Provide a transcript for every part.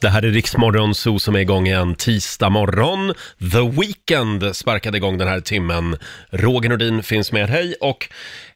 Det här är Riksmorgon Zoo som är igång igen tisdag morgon. The Weeknd sparkade igång den här timmen. Roger Nordin finns med, hej! Och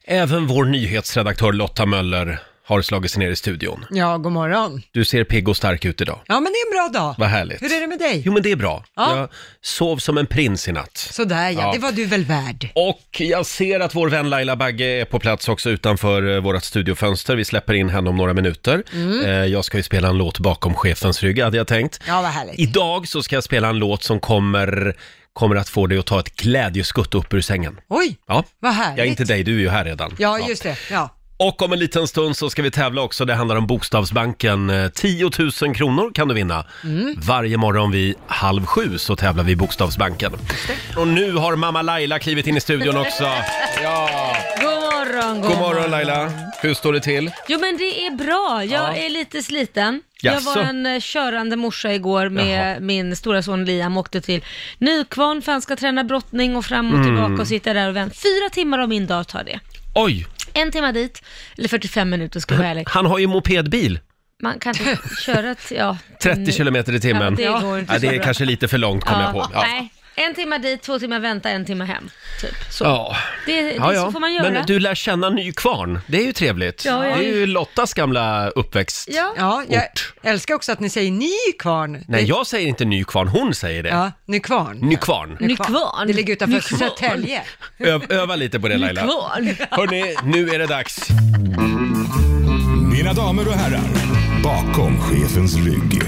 även vår nyhetsredaktör Lotta Möller har slagit sig ner i studion. Ja, god morgon. Du ser pigg och stark ut idag. Ja, men det är en bra dag. Vad härligt. Hur är det med dig? Jo, men det är bra. Ja. Jag sov som en prins i natt. Sådär ja, Ja. det var du väl värd. Och jag ser att vår vän Laila Bagge är på plats också utanför eh, vårt studiofönster. Vi släpper in henne om några minuter. Mm. Eh, Jag ska ju spela en låt bakom chefens rygg, hade jag tänkt. Ja, vad härligt. Idag så ska jag spela en låt som kommer, kommer att få dig att ta ett glädjeskutt upp ur sängen. Oj, Ja, vad härligt. jag är inte dig, du är ju här redan. Ja, just det. Ja. Och om en liten stund så ska vi tävla också. Det handlar om Bokstavsbanken. Eh, 10 000 kronor kan du vinna. Mm. Varje morgon vid halv sju så tävlar vi i Bokstavsbanken. Och nu har mamma Laila klivit in i studion också. Ja. God morgon, God morgon Laila. Hur står det till? Jo men det är bra, jag är lite sliten. Jaså? Jag var en eh, körande morsa igår med min stora son Liam, åkte till Nykvarn för han ska träna brottning och fram och Mm. tillbaka och sitta där och vänta. Fyra timmar av min dag tar det. Oj, En timme dit, eller 45 minuter ska jag vara ärlig. han har ju mopedbil. Man kan inte köra ett, ja. 30 kilometer i Mm. Ja, timmen. men det går inte ja, så det är bra. kanske lite för långt kom jag på. Ja. Nej, en timme dit, två timmar vänta, en timme hem. Typ. Så. Ja. Det, det Ja, ja. Så får man göra. Men du lär känna Nykvarn. Det är ju trevligt. Ja, ja. Det är ju Lottas gamla uppväxt. Ja. Ja, jag Ort. älskar också att ni säger Nykvarn. Nej, Det- jag säger inte Nykvarn, hon säger det. Ja, Nykvarn. Nykvarn. Nykvarn. Det ligger utanför Nykvarn. Södertälje. Ö- öva lite på det Laila. Nykvarn. Hörni, nu är det dags. Mina damer och herrar, bakom chefens rygg.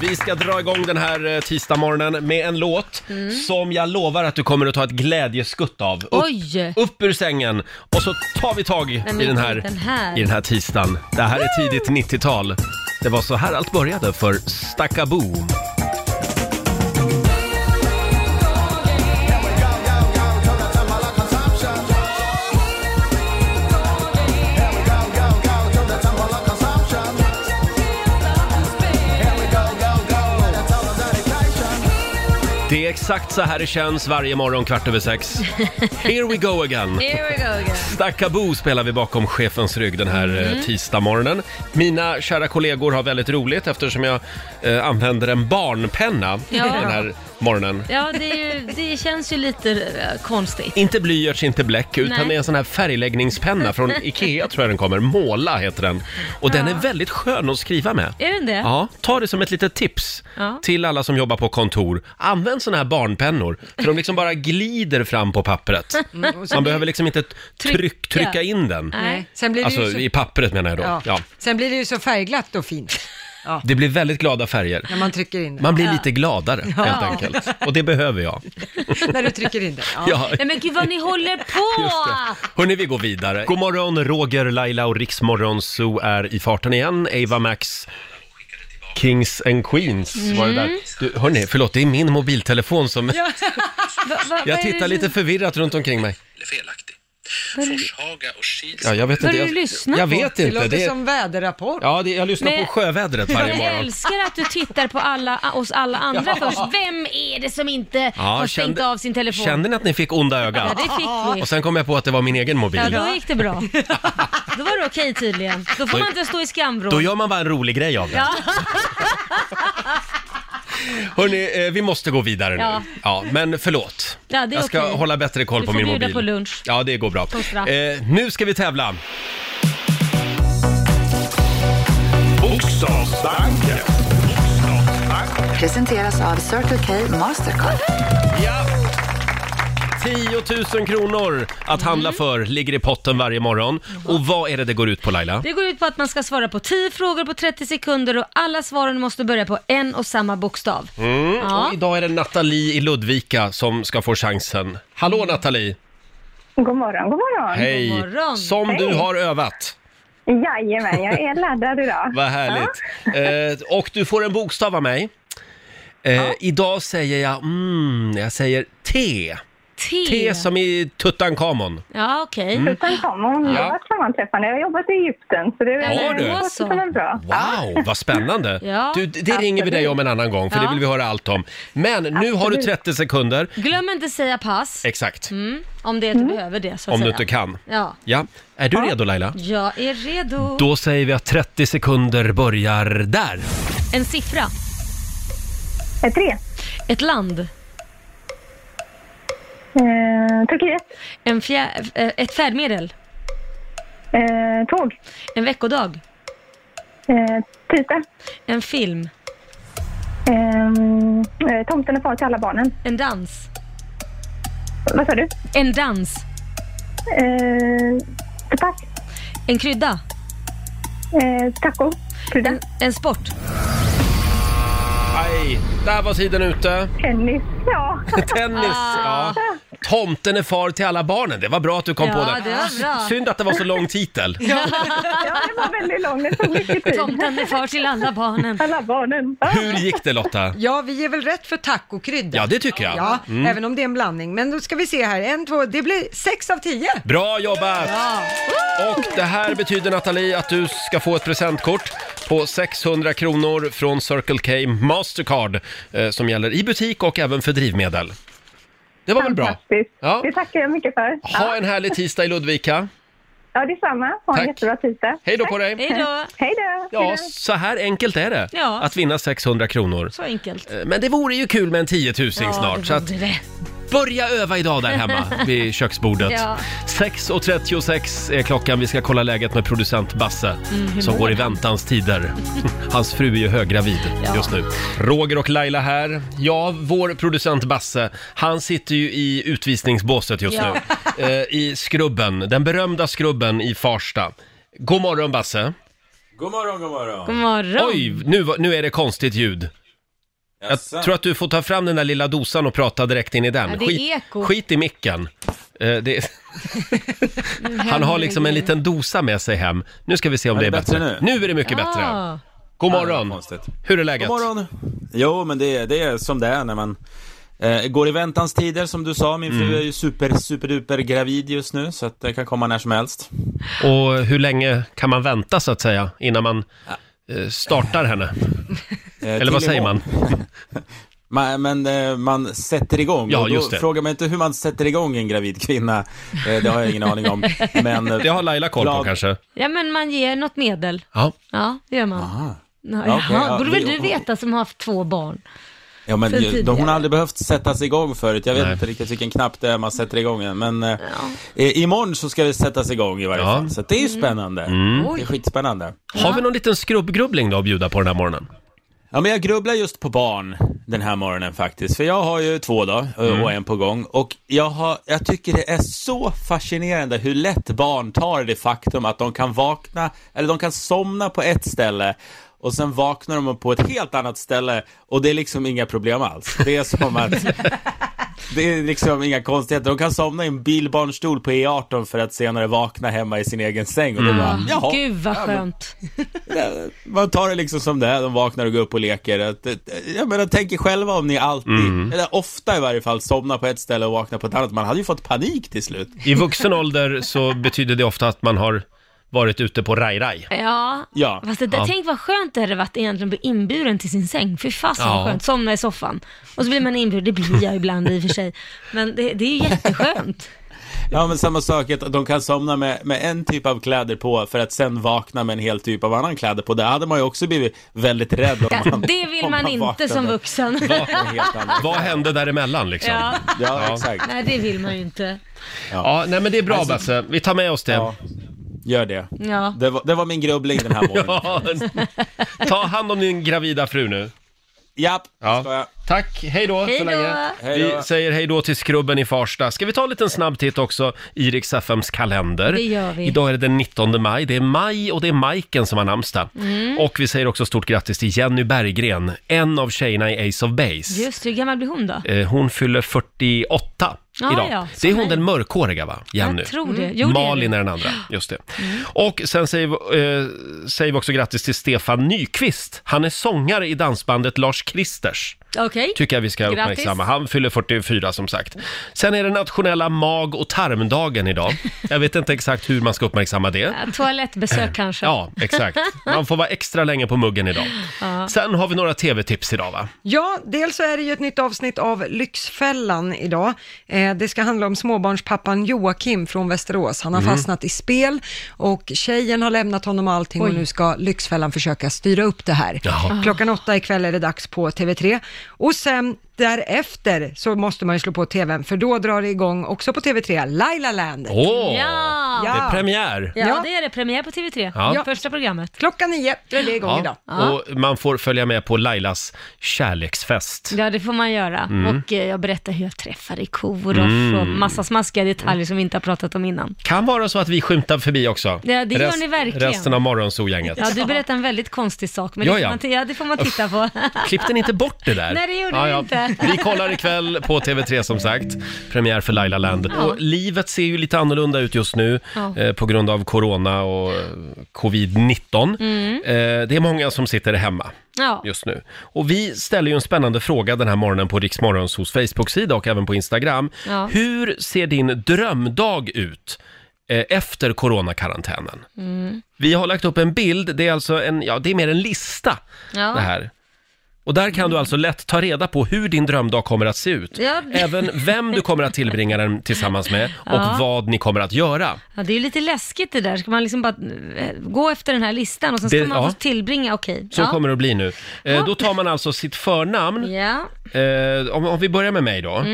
Vi ska dra igång den här eh, tisdagsmorgonen med en låt Mm. som jag lovar att du kommer att ta ett glädjeskutt av. Upp, Oj. upp ur sängen och så tar vi tag i men den här, den här. i den här tisdagen. Det här är tidigt 90-tal. Det var så här allt började för Stakabo. Det är exakt så här det känns varje morgon kvart över sex. Here we go again! Here we go again. Stackabo spelar vi bakom chefens rygg den här mm. tisdagsmorgonen. Mina kära kollegor har väldigt roligt eftersom jag eh, använder en barnpenna Ja. den här morgonen. Ja, det, är ju, det känns ju lite eh, konstigt. Inte blyerts, inte bläck, utan Nej. det är en sån här färgläggningspenna från Ikea tror jag den kommer. Måla heter den. Och den är väldigt skön att skriva med. Är den det? Ja, ta det som ett litet tips Ja. till alla som jobbar på kontor. Använd såna här barnpennor, för de liksom bara glider fram på pappret. Man behöver liksom inte tryck, trycka in den. Nej. Sen blir det Alltså ju så... i pappret menar jag då. Ja. Ja. Sen blir det ju så färgglatt och fint Det blir väldigt glada färger. när man trycker in det. Man blir lite gladare helt enkelt. Och det behöver jag. När du trycker in det. Ja. Ja. Nej men gud vad ni håller Just på! det. Hörni, vi går vidare. God morgon, Roger, Laila och Riksmorgon Zoo är i farten igen. Ava Max. Kings and Queens var det där. Mm. Du, hörni, förlåt, det är min mobiltelefon som... Va, va, vad är Jag det tittar som- lite förvirrat runt omkring mig. eller felaktig. Forshaga och Kils Ja, jag vet Vad inte. du Jag, lyssnar jag på? vet Det inte. låter Det är, som väderrapport. ja, det, jag lyssnar Men- på sjövädret varje Jag morgon. älskar att du tittar på alla, oss alla andra först. Vem är det som inte har stängt kände- av sin telefon? Kände ni att ni fick onda Ja, ögat? det fick vi. Och sen kom jag på att det var min egen mobil. Ja, då gick det bra. Då var det okej tydligen. Då får man inte stå i Då skamvrån. gör man bara en rolig grej av det. Ja. Hörni, eh, vi måste gå vidare nu. Ja. Ja. men förlåt. Ja, det är jag ska okej. hålla bättre koll Du på får min bjuda mobil. på lunch. Ja, det går bra. Som straff. Eh, nu ska vi tävla. Bokstavsbanken. presenteras av Circle K Mastercard. Ja. 10 000 kronor att handla Mm. för ligger i potten varje morgon. Och vad är det det går ut på Laila? Det går ut på att man ska svara på 10 frågor på 30 sekunder och alla svaren måste börja på en och samma bokstav. Mm. Ja. Och idag är det Nathalie i Ludvika som ska få chansen. Hallå Nathalie! God morgon, god morgon. Hej! God morgon. Som du har övat. Jajamän, jag är laddad idag. Vad härligt. Eh, och du får en bokstav av mig. Eh, Idag säger jag, mm, jag säger T. T. T Mm. som i Tutankhamon. Ja, okej. Sen kom hon, Ja. det var sammanträffande. Jag har jobbat i Egypten, så det Har du? det låter som en bra. Wow, vad spännande! Ja, du, det ringer vi dig om en annan gång, för det Ja. vill vi höra allt om. Men nu har du 30 sekunder. Glöm inte säga pass. Exakt, Mm, om det är att du behöver det, så att om du säga. inte kan. Ja. Ja, är du redo Laila? Jag är redo. Då säger vi att 30 sekunder börjar där. En siffra. Eh, Tre. Ett land. Eh, Turkiet. En fjär, eh, ett färdmedel. Eh, tåg. En veckodag. Eh, tisdag. En film. Eh, eh, tomten är far till alla barnen. En dans. Vad sa du? En dans. Eh, pass. En krydda. Eh, taco. Krydda. En, en sport. Aj, där var tiden ute. Tennis. Ja. Tennis, ja. Tomten är far till alla barnen. Det var bra att du kom Ah. Ja, på den. det var bra. Synd att det var så lång titel. ja, det var väldigt långt. Det tog mycket tid. Tomten är far till alla barnen. Alla barnen. Ja. Hur gick det Lotta? Ja, vi är väl rätt för tacokrydda? Ja, Mm. det tycker jag. Ja, även om det är en blandning. Men då ska vi se här, en, två, det blir sex av tio. Bra jobbat! Och det här betyder Nathalie att du ska få ett presentkort på 600 kronor från Circle K Mastercard eh, som gäller i butik och även för drivmedel. Det var väl bra? Fantastiskt. Ja. Det tackar jag mycket för. Ha en härlig tisdag i Ludvika. Ja, detsamma. Ha en Tack. jättebra tisdag. Hej då på dig! Hej då. Hej då! Hej Ja, då. så här enkelt är det Ja. att vinna 600 kronor. Så enkelt. Eh, Men det vore ju kul med en 10 000 det snart, så att vore det. börja öva idag där hemma vid köksbordet. Ja. 6.36 är klockan. Vi ska kolla läget med producent Mm, Basse som går i väntans tider. Hans fru är ju höggravid Ja. just nu. Roger och Laila här. Ja, vår producent Basse, han sitter ju i utvisningsbåset just Ja. nu. Eh, I Skrubben, den berömda Skrubben i Farsta. God morgon Basse. God morgon, god morgon. God morgon. Oj, nu, var- nu är det konstigt ljud. Jag tror att du får ta fram den där lilla dosan och prata direkt in i den. Ja, det är skit, eko. skit i micken. Eh, det, han har liksom en liten dosa med sig hem. Nu ska vi se om Är det är det bättre. bättre nu? är det mycket bättre. Ah, God Ja, det morgon. var konstigt. Hur är läget? God morgon. Jo, men det, är- det är som det är när man eh, går i väntans tider, som du sa. Min Mm. fru är ju super, super, duper gravid just nu, så att det kan komma när som helst. Och hur länge kan man vänta så att säga innan man eh, startar henne? Eh, Eller vad till säger man? imorgon. Ma- Men eh, man sätter igång. Ja, och då just det. Frågar man inte hur man sätter igång en gravid kvinna. Eh, Det har jag ingen aning om. Men, eh, Det har Laila koll på Glad. kanske? ja, men man ger något medel. Ja. Ja, det gör man. Ja, Ja, okej, jaha, ja, borde väl det- du veta som har haft två barn? Ja, men Sen ju- de, hon tidigare. har aldrig behövt sättas igång förut. Jag vet Nej. inte riktigt vilken knapp det är man sätter igång den. Men eh, eh, imorgon så ska det sättas igång i varje Ja. Mm. fall. Så det är Mm. ju spännande. Det är skitspännande. Har vi någon liten skrubbgrubbling då att bjuda på den här morgonen? Ja, men jag grubblar just på barn den här morgonen faktiskt. För jag har ju två då eh, och en på gång. Och jag, har, jag tycker det är så fascinerande hur lätt barn tar det faktum att de kan vakna, eller de kan somna på ett ställe och sen vaknar de på ett helt annat ställe och det är liksom inga problem alls. Det är som att Det är liksom inga konstigheter. De kan somna i en bilbarnstol på E18 för att senare vakna hemma i sin egen säng. Och då bara, jaha, Gud vad skönt. man tar det liksom som det är. De vaknar och går upp och leker. Att, eh, Jag menar, tänk er själva om ni alltid, Mm. eller ofta i varje fall, somnar på ett ställe och vaknar på ett annat. Man hade ju fått panik till slut. I vuxen ålder så betyder det ofta att man har varit ute på raj-raj. Ja, Ja. fast det där, Ja. tänk vad skönt det hade varit egentligen att bli inbjuden till sin säng. Fy fasen Ja. vad skönt, somna i soffan. Och så blir man inbjuden, det blir jag ibland i och för sig. Men det, det är ju jätteskönt. Ja, men samma sak, att de kan somna med, med en typ av kläder på för att sen vakna med en hel typ av annan kläder på. Det hade man ju också blivit väldigt rädd om. Ja, det vill om man inte vaknade som vuxen. på en helt annan- Vad hände däremellan liksom? Ja. Ja, exakt. Nej, det vill man ju inte. Ja, nej men det är bra Basse. Vi tar med oss det. Alltså- Ja. Gör det. Ja. Det var, det var min grubbling den här morgonen. Ja. Ta hand om din gravida fru nu. Japp, Ja. ska jag. Tack, hej då Hej så då. länge. Hej Vi då. säger hej då till skrubben i Farsta. Ska vi ta en liten snabb titt också i Rix FMs kalender? Det gör vi. Idag är det den 19 maj. Det är maj och det är Majken som har namnsdag. Mm. Och vi säger också stort grattis till Jenny Berggren, en av tjejerna i Ace of Base. Just det, hur gammal blir hon då? Eh, Hon fyller 48 Ja, idag. Ah, ja, det är som hon mig. den mörkhåriga va? Jenny. Jag tror det. Jo, det Mm. Mm. Malin det. är den andra, just det. Och sen säger vi, eh, säger vi också grattis till Stefan Nyqvist. Han är sångare i dansbandet Lars Kristers. Okej. tycker jag vi ska Grattis. uppmärksamma. Han fyller 44 som sagt. Sen är det nationella mag och tarmdagen idag. Jag vet inte exakt hur man ska uppmärksamma det. Ja, Toalettbesök kanske. Ja, exakt. Man får vara extra länge på muggen idag. Sen har vi några tv-tips idag va? Ja, dels så är det ju ett nytt avsnitt av Lyxfällan idag. Eh, det ska handla om småbarnspappan Joakim från Västerås. Han har Mm. fastnat i spel och tjejen har lämnat honom och allting och nu ska Lyxfällan försöka styra upp det här. Jaha. Klockan åtta ikväll är det dags på TV3 och sen därefter så måste man ju slå på TVn för då drar det igång också på TV3, Laila Land. Åh, Ja. det Ja. är premiär! Ja. det är det. Premiär på TV3. Ja. Första programmet. Klockan nio drar det igång idag. Ja. Och man får följa med på Lailas kärleksfest. Ja, det får man göra. Mm. Och eh, jag berättar hur jag träffade Korosh och massa smaskiga detaljer som vi inte har pratat om innan. Kan vara så att vi skymtar förbi också. Ja, det gör ni verkligen. Resten av morgonsogänget. Ja, du berättade en väldigt konstig sak, men Ja, det, ja. får man t- ja, det får man titta på. Klippte ni inte bort det där? Nej, det gjorde vi inte. Vi kollar ikväll på TV3 som sagt. Premiär för Laila Land. Och livet ser ju lite annorlunda ut just nu Ja. eh, på grund av corona och eh, covid-19. Mm. Eh, det är många som sitter hemma Ja. just nu. Och vi ställer ju en spännande fråga den här morgonen på Riksmorgons hos Facebook-sida och även på Instagram. Ja. Hur ser din drömdag ut eh, efter coronakarantänen? Mm. Vi har lagt upp en bild, det är alltså en, ja det är mer en lista Ja. det här. Och där kan du alltså lätt ta reda på hur din drömdag kommer att se ut. Ja. Även vem du kommer att tillbringa den tillsammans med och Ja. vad ni kommer att göra. Ja, det är ju lite läskigt det där. Ska man liksom bara eh, gå efter den här listan och sen ska Det- man ja. få tillbringa, okej. Så ja. kommer det att bli nu. Eh, Då tar man alltså sitt förnamn, Ja, Eh, om, om vi börjar med mig då,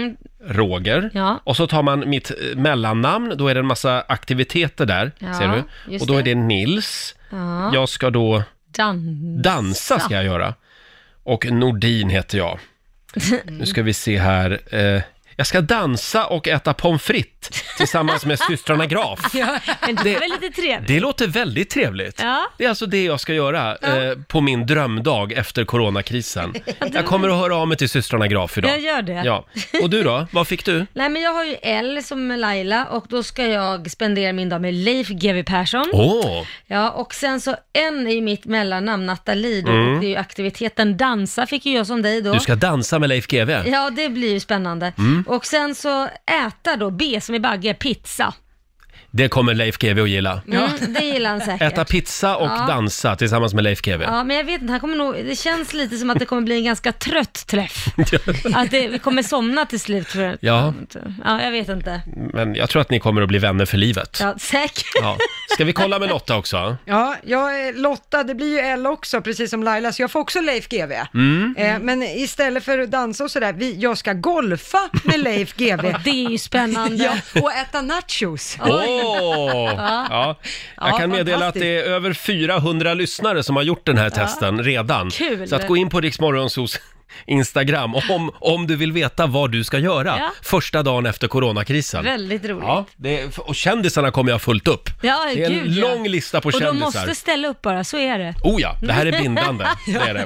Roger. Mm. Ja. Och så tar man mitt eh, mellannamn, då är det en massa aktiviteter där, Ja, ser du? just Och då är det. det Nils. Ja. Jag ska då dan. dansa, ska jag göra. Och Nordin heter jag. Nu ska vi se här. Eh, jag ska dansa och äta pommes frites tillsammans med systrarna Graf. Men det är väl lite trevligt? Det låter väldigt trevligt. Ja. Det är alltså det jag ska göra eh, på min drömdag efter coronakrisen. Jag kommer att höra av mig till systrarna Graf idag. Jag gör det. Ja. Och du då? Vad fick du? Nej men jag har ju L som är Laila och då ska jag spendera min dag med Leif GW Persson. Åh! Ja och sen så N är ju mitt mellannamn, Nathalie då, och det är ju aktiviteten dansa fick ju jag som dig då. Mm. Du ska dansa med Leif GW. Ja det blir ju spännande. Mm. Och sen så äta då, B som är Bagge, pizza. Det kommer Leif GW att gilla. Mm, Det gillar han säkert. Äta pizza och Ja. dansa tillsammans med Leif GW. Ja, men jag vet inte, han kommer nog, det känns lite som att det kommer bli en ganska trött träff. att det, vi kommer somna till slut tror jag. Ja. ja, jag vet inte. Men jag tror att ni kommer att bli vänner för livet. Ja, säkert. Ja. Ska vi kolla med Lotta också? Ja, jag är Lotta, det blir ju L också, precis som Laila, så jag får också Leif GW. Eh, men istället för att dansa och sådär, vi, jag ska golfa med Leif GW. Det är ju spännande. ja, och äta nachos. Åh! Ja. Jag Ja, kan meddela att det är över 400 lyssnare som har gjort den här testen redan. Kul. Så att gå in på Riksmorgonsos Instagram om, om du vill veta vad du ska göra Ja. första dagen efter coronakrisen. Väldigt roligt. Ja, det är, och kändisarna kommer jag ha fullt upp. Ja, det är en gud, ja. lång lista på Och de kändisar. måste ställa upp bara, så är det. Oh ja, det här är bindande. Det är det.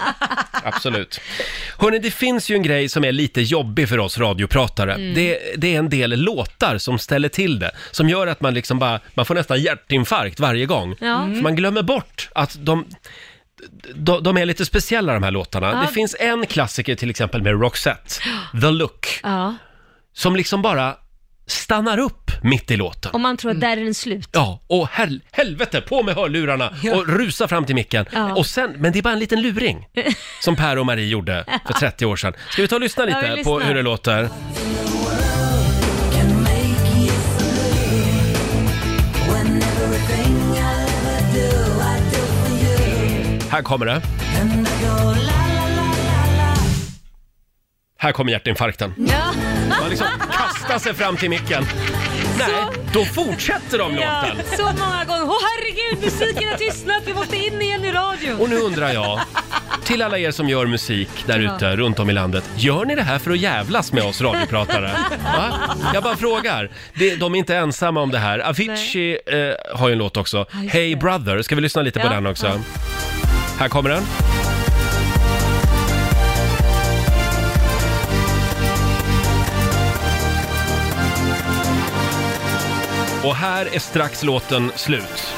Absolut. Hörrni, det finns ju en grej som är lite jobbig för oss radiopratare. Mm. Det, det är en del låtar som ställer till det, som gör att man liksom bara, man får nästan hjärtinfarkt varje gång. Ja. Mm. För man glömmer bort att de, de, de är lite speciella de här låtarna. Ja. Det finns en klassiker till exempel med Roxette, The Look, Ja. som liksom bara stannar upp mitt i låten. Om man tror att där är den slut. Ja, och hel helvete, på med hörlurarna och rusa fram till micken. Ja. Och sen, men det är bara en liten luring som Per och Marie gjorde för 30 år sedan. Ska vi ta och lyssna Ja, vi lite på lyssnar. hur det låter? Här kommer det. Här kommer hjärtinfarkten. Ja. Man liksom kastar sig fram till micken. Nej, då fortsätter de Ja, låten. så många gånger. Åh herregud, musiken har tystnat, vi måste in igen i radion. Och nu undrar jag, till alla er som gör musik där ute runt om i landet, gör ni det här för att jävlas med oss radiopratare? Va? Jag bara frågar. Det- De är inte ensamma om det här. Avicii eh, har ju en låt också. just Hey det. Brother, ska vi lyssna lite på Ja, den också? ja. Här kommer den. Och här är strax låten slut.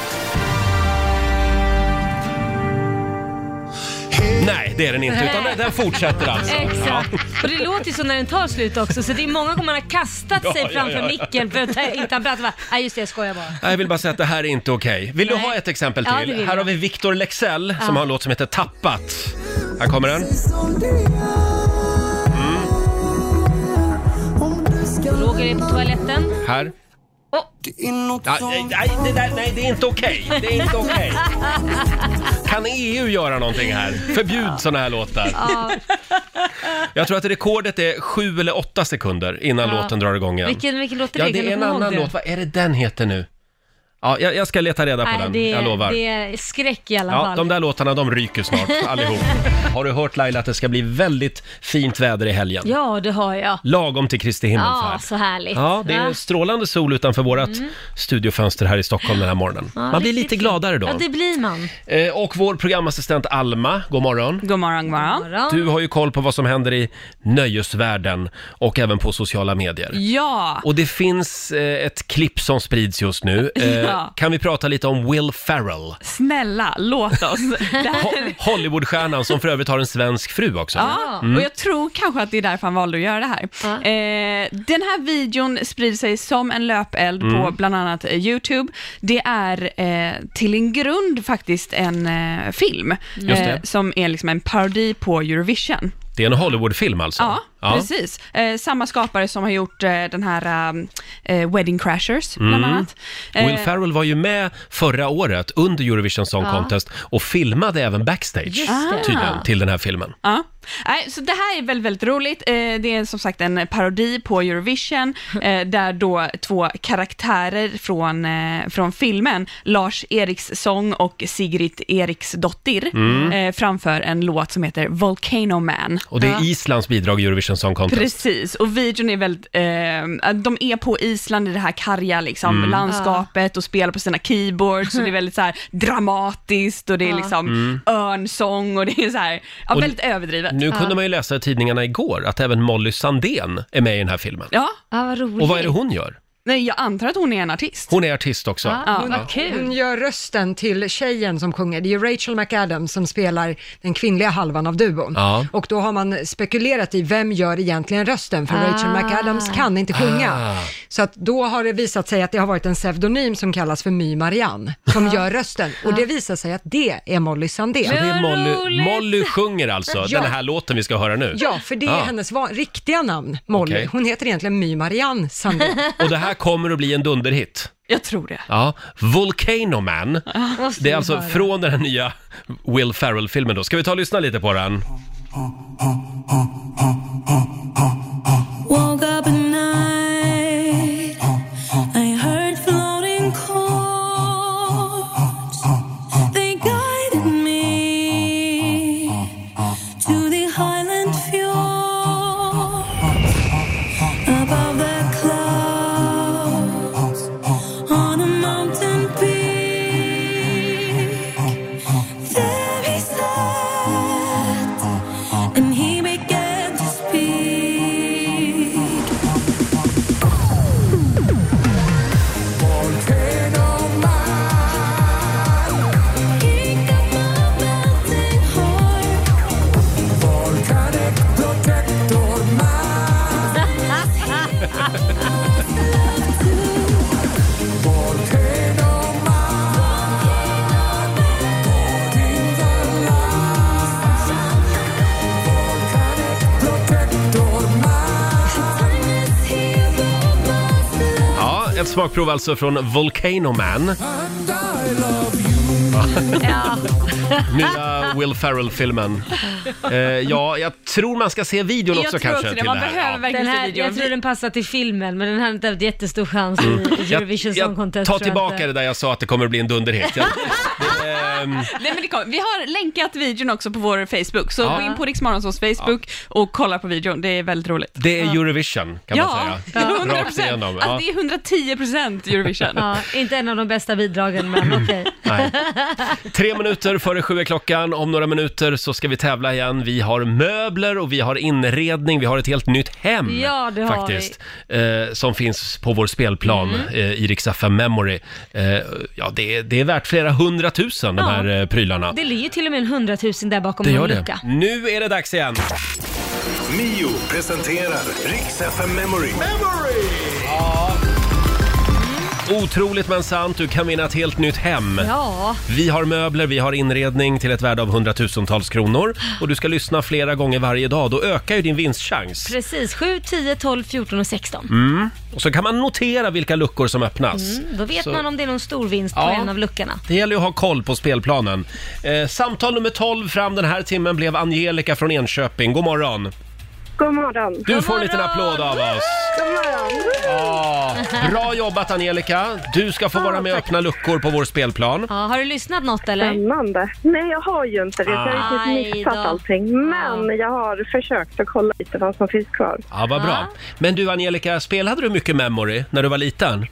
Nej, det är den inte, utan den- den fortsätter alltså. Exakt. Och det låter ju så när den tar slut också, så det är många gånger man har kastat Ja, sig ja, framför ja. micken för att ta- inte ha pratat. Bara, Nej just det, jag skojar bara. Nej, Jag vill bara säga att det här är inte okej. Vill du Nej. ha ett exempel Ja, det till? vill här jag. har vi Victor Lexell som har en låt som heter Tappat. Här kommer den. Roger är på toaletten. Här. Åh. Ja, nej, nej, det där, nej, det är inte okej. Det är inte okej. Kan EU göra någonting här? Förbjud såna här låtar. Ja, Jag tror att rekordet är sju eller åtta sekunder innan Ja. låten drar igång igen. vilken, vilken låt är det? Ja, Kan det du är en komma ihåg annan det? låt. Vad är det den heter nu? Ja, jag, jag ska leta reda på Nej, den. det, jag lovar. det är skräck i alla Ja, fall. de där låtarna de ryker snart allihop. Har du hört Laila att det ska bli väldigt fint väder i helgen? Ja, det har jag. Lagom till Kristi Ja, himmelfärd. så härligt. Ja, det är Va? strålande sol utanför vårat studiofönster här i Stockholm den här morgonen. Ja, Man blir riktigt lite gladare då. Ja, det blir man. Eh, Och vår programassistent Alma, god morgon. God morgon, god morgon. Morgon. Du har ju koll på vad som händer i nöjesvärlden och även på sociala medier. Ja, Och det finns eh, ett klipp som sprids just nu. Eh, Ja. Kan vi prata lite om Will Ferrell? snälla låt oss. Det här, Ho- Hollywoodstjärnan som för övrigt har en svensk fru också. ja, Mm. och jag tror kanske att det är därför han valde att göra det här. Eh, den här videon sprider sig som en löpeld Mm. på bland annat eh, YouTube. Det är eh, till en grund faktiskt en eh, film Just det. eh, som är liksom en parodi på Eurovision. Det är en Hollywoodfilm alltså? Ja, precis. Eh, samma skapare som har gjort eh, den här eh, Wedding Crashers, bland annat. Eh, Mm. Will Ferrell var ju med förra året under Eurovision Song Contest och filmade även backstage det. tydligen till den här filmen. Ja. Nej, så det här är väldigt, väldigt roligt. Eh, Det är som sagt en parodi på Eurovision, eh, där då två karaktärer från, eh, från filmen, Lars Eriksson och Sigrid Eriksdottir, Mm. eh, framför en låt som heter Volcano Man. Och det är Islands bidrag i Eurovision Song Contest. Precis, och videon är väldigt, eh, de är på Island i det här karga liksom, Mm. landskapet och spelar på sina keyboards och det är väldigt så här dramatiskt och det är Ja. liksom örnsång och det är så här, ja, Mm. Och väldigt överdrivet. Nu kunde man ju läsa i tidningarna igår att även Molly Sandén är med i den här filmen. Ja, Ja, vad roligt. Och vad är det hon gör? nej, jag antar att hon är en artist. Hon är artist också. Ja, Ja. Vad Hon kul. gör rösten till tjejen som sjunger. Det är ju Rachel McAdams som spelar den kvinnliga halvan av duon. Ja. Och då har man spekulerat i vem gör egentligen rösten, för Rachel Ah. McAdams kan inte sjunga. Ah. Så att då har det visat sig att det har varit en pseudonym som kallas för My Marianne, som gör rösten. Och det visar sig att det är Molly Sandén. Så det är Vad Molly, roligt! Molly sjunger alltså Ja. den här låten vi ska höra nu. Ja, för det är Ah. hennes va- riktiga namn, Molly. Okej. Hon heter egentligen My Marianne Sandén. Och det här kommer att bli en dunderhit. Jag tror det. Ja, Volcano Man. Måste Det är vi alltså höra. från den här nya Will Ferrell-filmen då. Ska vi ta och lyssna lite på den? Woke up at night. I heard floating chords. They guided me to the highland fjord. Above the clouds, on a mountain peak, there he sat, and he began to speak. King of my melting heart, time is here for my love. Ja, ett smakprov alltså från Volcano Man. Ja. Nya Will Ferrell-filmen. Eh, ja, jag tror man ska se videon Jag också tror kanske också det. till Man det här. behöver Ja. verkligen Den se här, videon. jag tror den passar till filmen, men den hade inte haft jättestor chans i Eurovision Song Mm. jag, jag Contest. tar tror jag tillbaka inte. det där jag sa att det kommer att bli en dunderhit. Jag, Nej, men det kom. Vi har länkat videon också på vår Facebook, så Ja. gå in på Riksmorgonsols Facebook och kolla på videon. Det är väldigt roligt. det är Eurovision kan man Ja, säga. 100 Rakt procent. igenom. Alltså, det är 110 procent Eurovision. Ja, inte en av de bästa bidragen, men Mm. okej. Nej. Tre minuter före sju är klockan. Om några minuter så ska vi tävla igen. Vi har möbler och vi har inredning. Vi har ett helt nytt hem Ja, det har Mm. faktiskt. Eh, som finns på vår spelplan eh, i Rix FM Memory. Eh, ja, det, är- det är värt flera hundratusen 000 de här eh, prylarna. Det ligger till och med en hundratusen där bakom Det gör vår det. lucka. Nu är det dags igen. Mio presenterar Riks FM Memory. Otroligt men sant, du kan vinna ett helt nytt hem. Ja. Vi har möbler, vi har inredning till ett värde av hundratusentals kronor. Och du ska lyssna flera gånger varje dag, då ökar ju din vinstchans. Precis, 7, 10, 12, 14 och 16. Mm. Och så kan man notera vilka luckor som öppnas. Mm, då vet Så- man om det är någon stor vinst Ja. på en av luckorna. Det gäller ju att ha koll på spelplanen. Eh, samtal nummer 12 fram den här timmen blev Angelica från Enköping. God morgon! God morgon. Du får en liten applåd av oss. God morgon. Ja, bra jobbat Angelica! Du ska få vara med och öppna luckor på vår spelplan. Ja, har du lyssnat något Mm. eller? Spännande. Nej, jag har ju inte det. så Jag har ju Aj Ah. typ missat då. allting. Men jag har försökt att kolla lite vad som finns kvar. Ja, vad bra. Men du Angelica, spelade du mycket Memory när du var liten?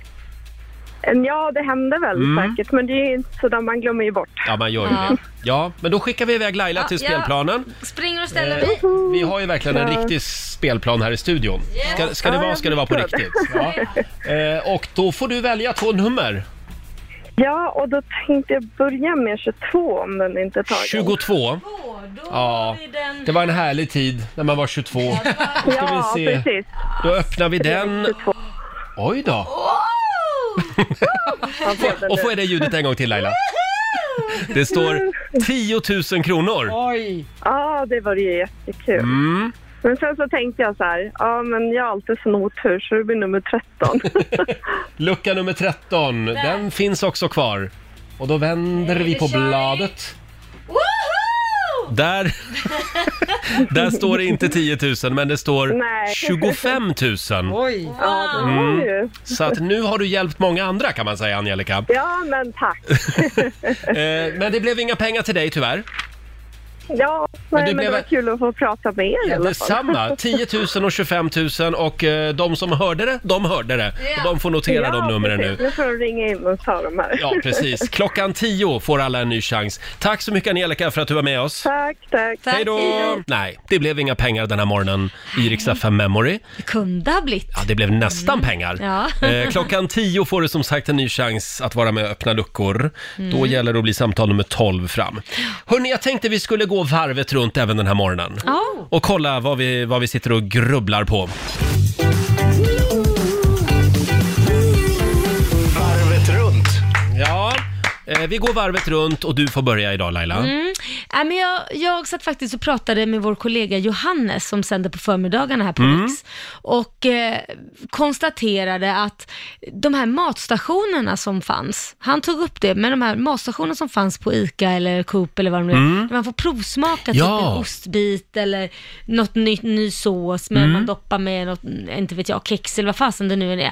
Em, Ja, det händer väl Mm. säkert, men det är ju inte sådär man glömmer ju bort. Ja, man gör ju Ja. det. Ja, men då skickar vi iväg Laila Ja, till ja. spelplanen. Springer och ställer Eh, dig. vi har ju verkligen en Ja. riktig spelplan här i studion. Ska, ska det Ja, vara jag ska det vara på förstår. riktigt. Ja. Eh, och då får du välja två nummer. Ja, och då tänkte jag börja med 22 om den inte är tagen. 22. Åh, Då Ja. har vi den. Det var en härlig tid när man var 22. Då ska Ja, vi se. precis. Då öppnar vi den. 22. Oj då! Man får den Och nu. får jag det ljudet en gång till Laila? Det står 10 000 kronor. Ja, det var ju jättekul. Mm. Men sen så tänkte jag så här, ja men jag har alltid sån otur så det blir nummer 13. Lucka nummer 13, den finns också kvar. Och då vänder vi på kör vi. bladet. Woho! Där, där står det inte 10 000 men det står Nej. 25 000. Oj! Ja, det var Mm. ju. Så att nu har du hjälpt många andra kan man säga Angelica. Ja, men tack. Eh, men det blev inga pengar till dig tyvärr. Ja, men, det det, men blev- det var kul att få prata med er i alla fall. Detsamma, 10 000 och 25 000 och eh, de som hörde det, de hörde det. Och de får notera de numren precis. nu. Nu får de ringa in och ta de här. Ja, precis. Klockan 10 får alla en ny chans. Tack så mycket Angelica för att du var med oss. Tack, tack. Tack. Hej då! Nej, det blev inga pengar den här morgonen i Rix FM Memory. Det kunde ha blivit. Ja, det blev nästan pengar. Mm. Ja. Eh, klockan 10 får du som sagt en ny chans att vara med och öppna luckor. Mm. Då gäller det att bli samtal nummer 12 fram. Hörni, jag tänkte vi skulle gå varvet runt även den här morgonen. Ja. Och kolla vad vi, vad vi sitter och grubblar på. Varvet runt. Ja, eh, vi går varvet runt och du får börja idag Laila. Mm. Äh, men jag, jag satt faktiskt och pratade med vår kollega Johannes som sänder på förmiddagarna här på Rix och eh, konstaterade att de här matstationerna som fanns, han tog upp det, men de här matstationerna som fanns på ICA eller Coop eller vad de nu är, där man får provsmaka Ja. typ en ostbit eller något nytt, ny sås men man doppar med något, inte vet jag, kex eller vad fasen det nu än är.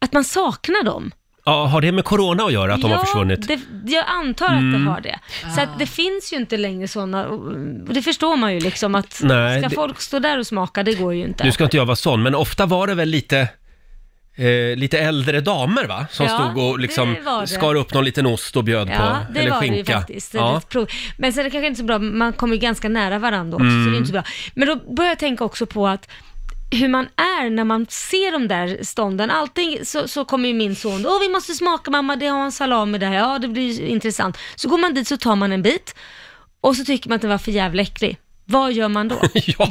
Att man saknar dem. Ja, har det med corona att göra att de har försvunnit? Mm. Det, jag antar att det har det. Så att det finns ju inte längre sådana, och och det förstår man ju liksom att Nej, ska det- folk stå där och smaka, det går ju inte. Nu ska inte jag vara sån, men ofta var det väl lite Eh, lite äldre damer va? Som Ja, stod och liksom det var det. skar upp någon liten ost och bjöd Ja, på. det eller var skinka. det ju faktiskt. Det är Ja. ett prov. Men sen är det kanske inte så bra, man kommer ju ganska nära varandra också, Mm. så det är inte så bra. Men då börjar jag tänka också på att hur man är när man ser de där stånden. Allting så, så kommer ju min son, åh vi måste smaka mamma, det har en salami där, ja det blir ju intressant. Så går man dit så tar man en bit och så tycker man att den var för jävla äcklig. Vad gör man då? Ja,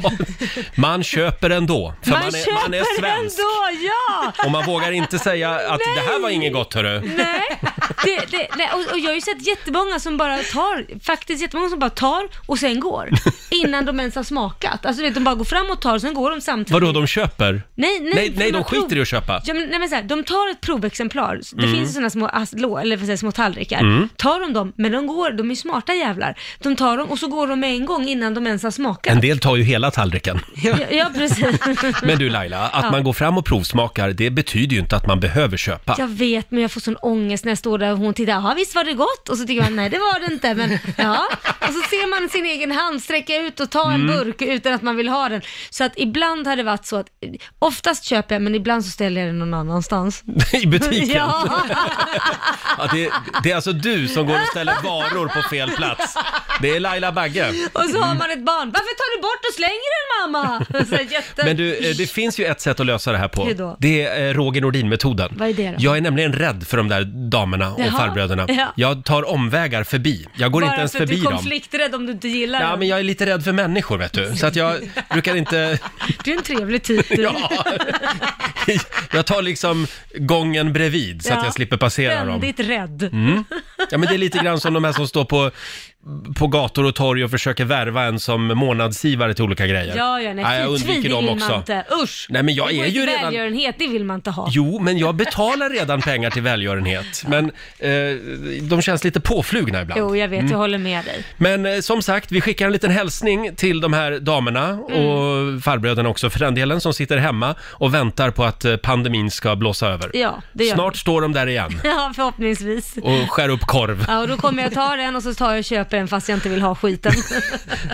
man köper ändå. För man, är, man är svensk. ändå, ja! Och man vågar inte säga att det här var inget gott hörru. Nej, det, det, nej. Och, och jag har ju sett jättemånga som bara tar, faktiskt jättemånga som bara tar och sen går. Innan de ens har smakat. Alltså du vet, de bara går fram och tar och sen går de samtidigt. Vadå, de köper? Nej, nej, Nej, för nej de har prov- skiter i att Mm. köpa. Ja, men, nej, men så här, de tar ett provexemplar, det finns ju sådana små, aslå, eller vad säger jag, små tallrikar. Mm. Tar de dem, men de går, de är smarta jävlar. De tar dem och så går de med en gång innan de ens har smakat. En del tar ju hela tallriken. Ja, ja precis. Men du Laila, att man går fram och provsmakar, det betyder ju inte att man behöver köpa. Jag vet, men jag får sån ångest när jag står där och hon tittar, ja visst var det gott? Och så tycker man, nej det var det inte, men ja. Och så ser man sin egen hand sträcka ut och Mm. ta en burk utan att man vill ha den. Så att ibland har det varit så att, oftast köper jag, men ibland så ställer jag den någon annanstans. I butiken. Ja, Ja, det, det är alltså du som går och ställer varor på fel plats. Det är Laila Bagge. Och så har man ett barn. Varför tar du bort och slänger den mamma? Så här jätte... Men du, eh, det finns ju ett sätt att lösa det här på. Hur då? Det är eh, Roger Nordin-metoden. Vad är det då? Jag är nämligen rädd för de där damerna och Jaha. farbröderna. Ja. Jag tar omvägar förbi. Jag går Bara inte ens för att förbi du är dem. konflikträdd om du inte gillar Ja, dem. men jag är lite rädd för människor, vet du. Så att jag brukar inte... Det är en trevlig titel. Ja, Jag tar liksom gången bredvid så att Ja. jag slipper passera dem. Väldigt rädd. Mm. Ja, men det är lite grann som de här som står på, på gator och torg och försöker värva en som månadsgivare till olika grejer. Ja, ja, nej. Nej, jag fy, undviker tvi, det dem vill också. Man inte. Usch! Nej, men jag Det går är ju inte redan- Välgörenhet, det vill man inte ha. Jo, men jag betalar redan pengar till välgörenhet. Men eh, de känns lite påflugna ibland. Jo, jag vet, Mm. jag håller med dig. Men eh, som sagt, vi skickar en liten hälsning till de här damerna Mm. och farbröderna också för den delen som sitter hemma och väntar på att eh, pandemin ska blåsa över. Ja, det gör Snart står de där igen vi. Ja, förhoppningsvis. och skär upp korv. Ja, och då kommer jag ta den och så tar jag och köper en fast jag inte vill ha skiten.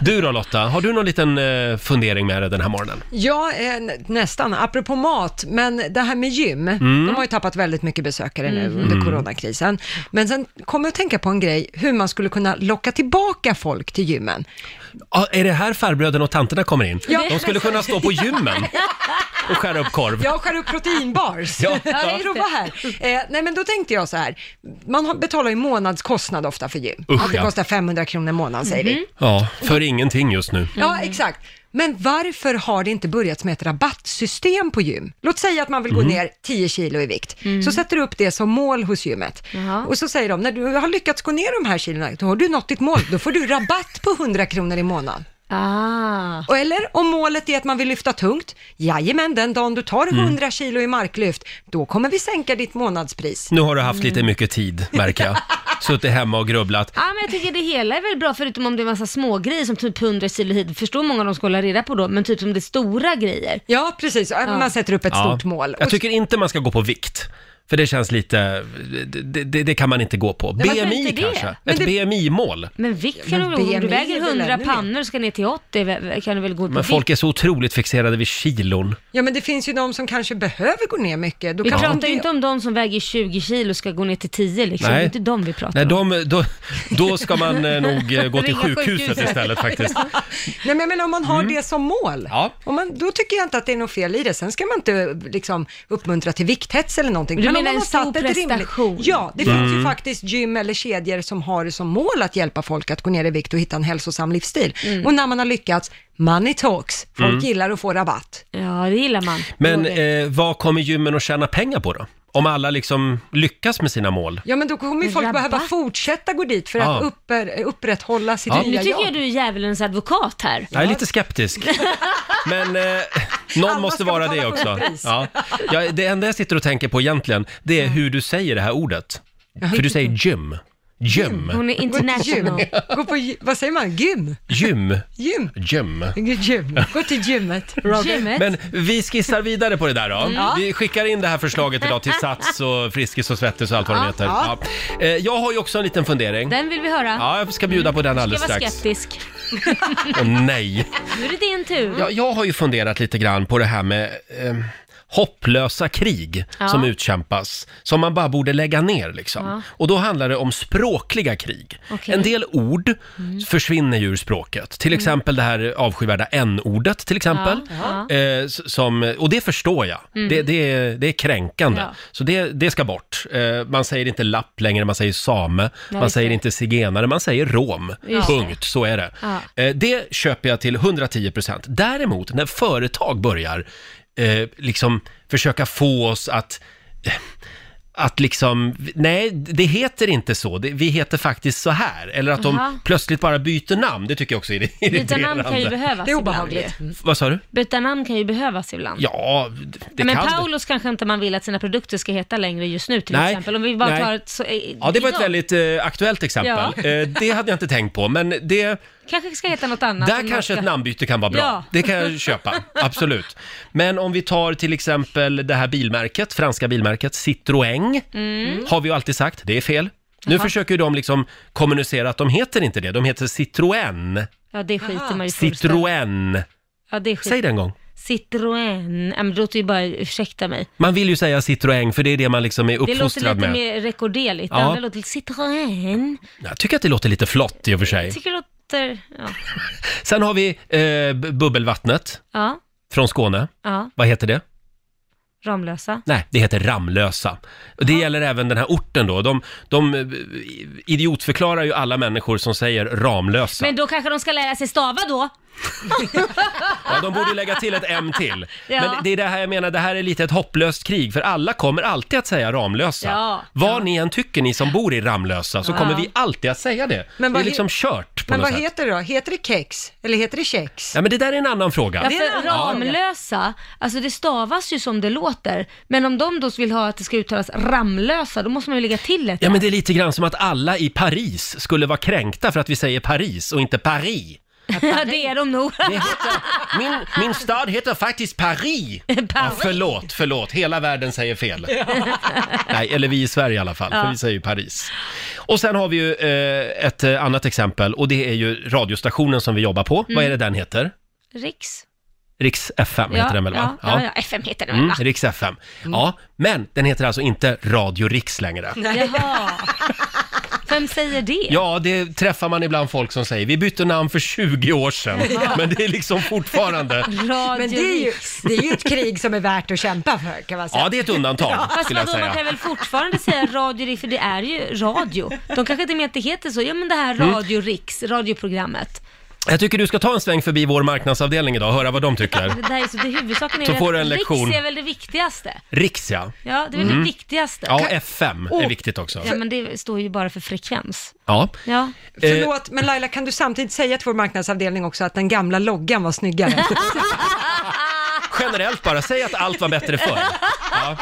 Du då Lotta, har du någon liten eh, fundering med dig den här morgonen? Ja, eh, n- nästan. Apropå mat, men det här med gym. Mm. De har ju tappat väldigt mycket besökare nu Mm. under Mm. coronakrisen. Men sen kommer jag att tänka på en grej, hur man skulle kunna locka tillbaka folk till gymmen. Ja, är det här farbröderna och tanterna kommer in? Ja. De skulle kunna stå på gymmen och skära upp korv. Jag skär upp proteinbars. Ja. Jag prova här. Eh, nej, men då tänkte jag så här. Man har- betalar ju månadskostnad ofta för gym. Usch, att det ja. Mhm. kostar 500 kronor i månaden, säger vi. Ja, för ingenting just nu. Ja, exakt. Men varför har det inte börjat med ett rabattsystem på gym? Låt säga att man vill gå Mm. ner 10 kilo i vikt. Så sätter du upp det som mål hos gymmet. Och så säger de, när du har lyckats gå ner de här kilona, då har du nått ditt mål. Då får du rabatt på 100 kronor i månaden. Ah. Och eller om målet är att man vill lyfta tungt, jajamän, den dagen du tar Mm. 100 kilo i marklyft, då kommer vi sänka ditt månadspris. Nu har du haft Mm. lite mycket tid, märker jag. Suttit hemma och grubblat. Ja, men jag tycker det hela är väl bra, förutom om det är massa smågrejer som typ 100 kilo hit. Förstår hur många de ska hålla reda på då, men typ som det är stora grejer. Ja, precis. Man sätter upp ett Ja. stort mål. Jag tycker inte man ska gå på vikt. För det känns lite, det, det, det kan man inte gå på. Men varför BMI inte det? kanske? Men Ett det- BMI-mål. Men vikt kan du Men väl gå- om du BMI väger är väl 100 ännu mer. pannor och ska ner till 80 vä- kan du väl gå på Men folk vikt? är så otroligt fixerade vid kilon. Ja, men det finns ju de som kanske behöver gå ner mycket. Då Vi kanske pratar de- ju inte om de som väger 20 kilo och ska gå ner till 10 liksom. Nej. Det är inte de vi pratar Nej, om. de, då, då ska man eh, nog eh, gå till Ringa sjukhuset sjukhuset. istället faktiskt. Ja. Nej, men, men om man har det som mål, Mm. Ja. om man, då tycker jag inte att det är något fel i det. Sen ska man inte liksom, uppmuntra till vikthets eller någonting. Du men om menar man en har stor satt ett rimligt- prestation? Ja, det Mm. finns ju faktiskt gym eller kedjor som har som mål att hjälpa folk att gå ner i vikt och hitta en hälsosam livsstil. Mm. Och när man har lyckats, money talks. Folk Mm. gillar att få rabatt. Ja, det gillar man. Men eh, vad kommer gymmen att tjäna pengar på då? Om alla liksom lyckas med sina mål? Ja, men då kommer ju folk Rabatt. behöva fortsätta gå dit för Ja. att upper, upprätthålla sitt Ja. nya Nu tycker jobb. jag du är djävulens advokat här. Jag är lite skeptisk. Men eh, någon måste ska vara betala det fulla också. pris. Ja. Ja, det enda jag sitter och tänker på egentligen, det är hur du säger det här ordet. För du säger gym. Gym. Hon är Gå till international. gym. Gå på, gy- vad säger man? Gym? Gym. Gym? Gym. Gym. Gå till gymmet. Gymmet. Men vi skissar vidare på det där då. Ja. Vi skickar in det här förslaget idag till Sats och Friskis och Svettis och allt vad de Ja, heter. Ja. ja. Eh, Jag har ju också en liten fundering. Den vill vi höra. Ja, jag ska bjuda på den jag alldeles var strax. skeptisk. Åh nej. Nu är det din tur. Jag, jag har ju funderat lite grann på det här med eh, hopplösa krig Ja. som utkämpas, som man bara borde lägga ner liksom. Ja. Och då handlar det om språkliga krig. Okej. Mm. En del ord försvinner ju ur språket, till exempel det här avskyvärda n-ordet till exempel. Ja, Eh, s- som, och det förstår jag, Mm. det, det, är, det är kränkande. Ja. Så det, det ska bort. Eh, man säger inte lapp längre, man säger same, man just säger det. inte zigenare, man säger rom. Just det. Punkt, så är det. Ja. Eh, Det köper jag till 110 procent. Däremot när företag börjar eh, liksom försöka få oss att eh, att liksom, nej, det heter inte så, det, vi heter faktiskt så här. Eller att de Aha. plötsligt bara byter namn, det tycker jag också är Byta namn kan ju irriterande. behövas Det är Ibland. obehagligt. ju. Vad sa du? Byta namn kan ju behövas ibland. Ja, det- det men kan det. Paulos kanske inte man vill att sina produkter ska heta längre just nu till Nej, exempel. Om vi bara nej. tar ett så, eh, Ja, det var ett idag. väldigt eh, aktuellt exempel. Ja. Eh, det hade jag inte tänkt på, men det, Kanske ska heta något annat. där än kanske Oscar. ett namnbyte kan vara bra. Ja. Det kan jag köpa, absolut. Men om vi tar till exempel det här bilmärket, franska bilmärket Citroën, Mm. har vi ju alltid sagt, det är fel. Nu försöker ju de liksom kommunicera att de heter inte det, de heter Citroën. Ja, det skiter man ju fullständigt. Citroën. Ja, det skiter. Säg det en gång. Citroën. Ja, men det låter ju bara, ursäkta mig. Man vill ju säga Citroën, för det är det man liksom är Det låter uppfostrad lite med. mer rekorderligt. Ja. Det andra låter lite Citroën. Jag tycker att det låter lite flott i och för sig. Tycker du att Katter, ja. Sen har vi eh, b- bubbelvattnet ja. från Skåne. Ja, Vad heter det? Ramlösa. Nej, det heter Ramlösa. Och det gäller även den här orten då. De, de eh, idiotförklarar ju alla människor som säger Ramlösa. Men då kanske de ska lära sig stava då? Ja, de borde ju lägga till ett M till. Ja. Men det är det här jag menar, det här är lite ett hopplöst krig för alla kommer alltid att säga Ramlösa. Ja. Vad ni än tycker ni som bor i Ramlösa så Ja. kommer vi alltid att säga det. Men det vad är he- liksom kört på Men något vad sätt. heter det då? Heter det kex? Eller heter det kex? Ja, men det där är en annan fråga. Ja, för Ramlösa, alltså det stavas ju som det låter. Men om de då vill ha att det ska uttalas Ramlösa, då måste man ju lägga till ett Ja, R. men det är lite grann som att alla i Paris skulle vara kränkta för att vi säger Paris och inte Paris. Ja, det är de nog. Min, min stad heter faktiskt Paris. Ja, förlåt, förlåt. Hela världen säger fel. Nej, eller vi i Sverige i alla fall, för Ja. vi säger ju Paris. Och sen har vi ju eh, ett eh, annat exempel och det är ju radiostationen som vi jobbar på. Mm. Vad är det den heter? Riks. Riks FM ja, heter den väl va? Ja, ja. ja, FM heter den väl Mm, va? Riks FM. Ja, men den heter alltså inte Radio Riks längre. Jaha. Vem säger det? Ja, det träffar man ibland folk som säger. Vi bytte namn för 20 år sedan, Ja. men det är liksom fortfarande... Men det är, ju, det är ju ett krig som är värt att kämpa för kan man säga. Ja, det är ett undantag, Fast skulle jag vadå, man kan säga. väl fortfarande säga Radio Riks, för det är ju radio. De kanske inte menar att det heter så. Ja, men det här Mm. Radio Riks, radioprogrammet. Jag tycker du ska ta en sväng förbi vår marknadsavdelning idag och höra vad de tycker. Det där är så, det huvudsaken är Så ju får att du en lektion. Riks är väl det viktigaste. Riks, ja. Ja, det är väl Mm. det viktigaste. Ja, FM är viktigt också. Ja, men det står ju bara för frekvens. Ja. eh. Ja. Förlåt, men Laila kan du samtidigt säga till vår marknadsavdelning också att den gamla loggan var snyggare? Generellt bara, säg att allt var bättre förr. Ja.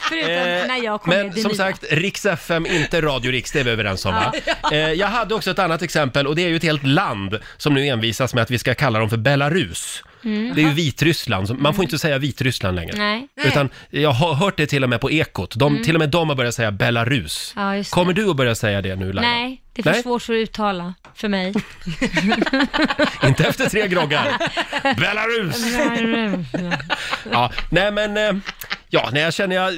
Förutom Eh, när jag kommer Men som sagt, Riks FM, inte Radio Riks, det är vi överens om va? Ja. Eh, Jag hade också ett annat exempel och det är ju ett helt land som nu envisas med att vi ska kalla dem för Belarus. Mm. Det är ju Vitryssland, så man får inte säga Vitryssland längre. Nej. Utan jag har hört det till och med på Ekot. De, Mm. Till och med de har börjat säga Belarus. Ja, just det. Kommer du att börja säga det nu Laila? Nej, det är för Nej? svårt för att uttala för mig. Inte efter tre groggar. Belarus! Ja, nej men, eh, ja, nej, jag känner jag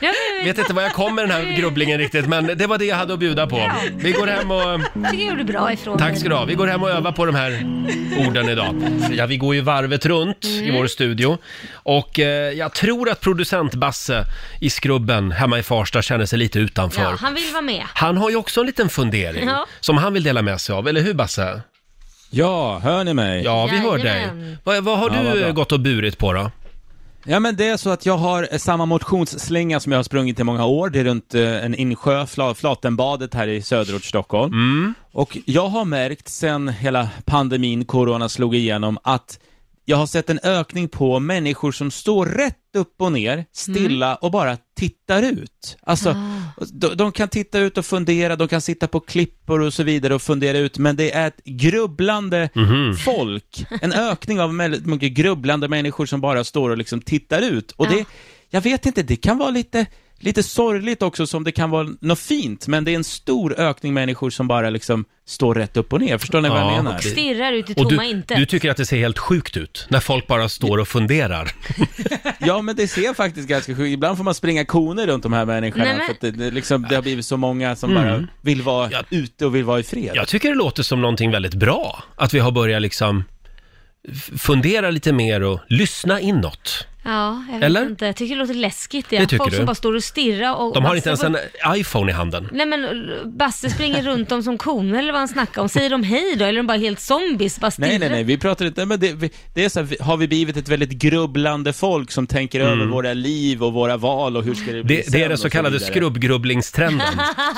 Ja, vet inte var jag kom med den här grubblingen riktigt, men det var det jag hade att bjuda på. Vi går hem och... Jag tycker jag gjorde bra ifrån Tack mig. ska du ha. Vi går hem och övar på de här orden idag. Ja, vi går ju varvet runt i Mm. vår studio. Och eh, jag tror att producent Basse i Skrubben hemma i Farsta känner sig lite utanför. Ja, han vill vara med. Han har ju också en liten fundering Ja. som han vill dela med sig av, eller hur Basse? Ja, hör ni mig? Ja, vi hör dig. Jajamän. Vad, vad har Ja, vad du bra. gått och burit på då? Ja men det är så att jag har eh, samma motionsslinga som jag har sprungit i många år. Det är runt eh, en insjö, Fla- Flatenbadet här i söderort Stockholm. Och jag har märkt sen hela pandemin, corona slog igenom, att jag har sett en ökning på människor som står rätt upp och ner, stilla och bara tittar ut. Alltså, de, de kan titta ut och fundera, de kan sitta på klippor och så vidare och fundera ut, men det är ett grubblande folk. En ökning av väldigt mycket grubblande människor som bara står och liksom tittar ut. Och det, jag vet inte, det kan vara lite, lite sorgligt också som det kan vara något fint, men det är en stor ökning människor som bara liksom står rätt upp och ner. Förstår ni vad Ja. jag menar? Och Stirrar ut i Och tomma du, inte. du tycker att det ser helt sjukt ut när folk bara står och funderar. Ja, men det ser faktiskt ganska sjukt Ibland får man springa koner runt de här människorna. Nej, men- För att det, det, liksom, det har blivit så många som Mm. bara vill vara ute och vill vara i fred. Jag tycker det låter som någonting väldigt bra, att vi har börjat liksom f- fundera lite mer och lyssna inåt. Ja, jag vet Eller? inte. Jag tycker det låter läskigt. Det Ja. tycker Folk du? som bara står och stirrar och... De har Basse inte ens en iPhone i handen. Nej men Basse springer runt dem som koner eller vad han snackar om. Säger de hej då? Eller är de bara helt zombies? Bara stirrar? Nej, nej, nej, vi pratar inte, men det, vi, det är så här, vi- har vi blivit ett väldigt grubblande folk som tänker över våra liv och våra val och hur ska det bli Mm. Det, det är sen den och så kallade vidare. skrubbgrubblingstrenden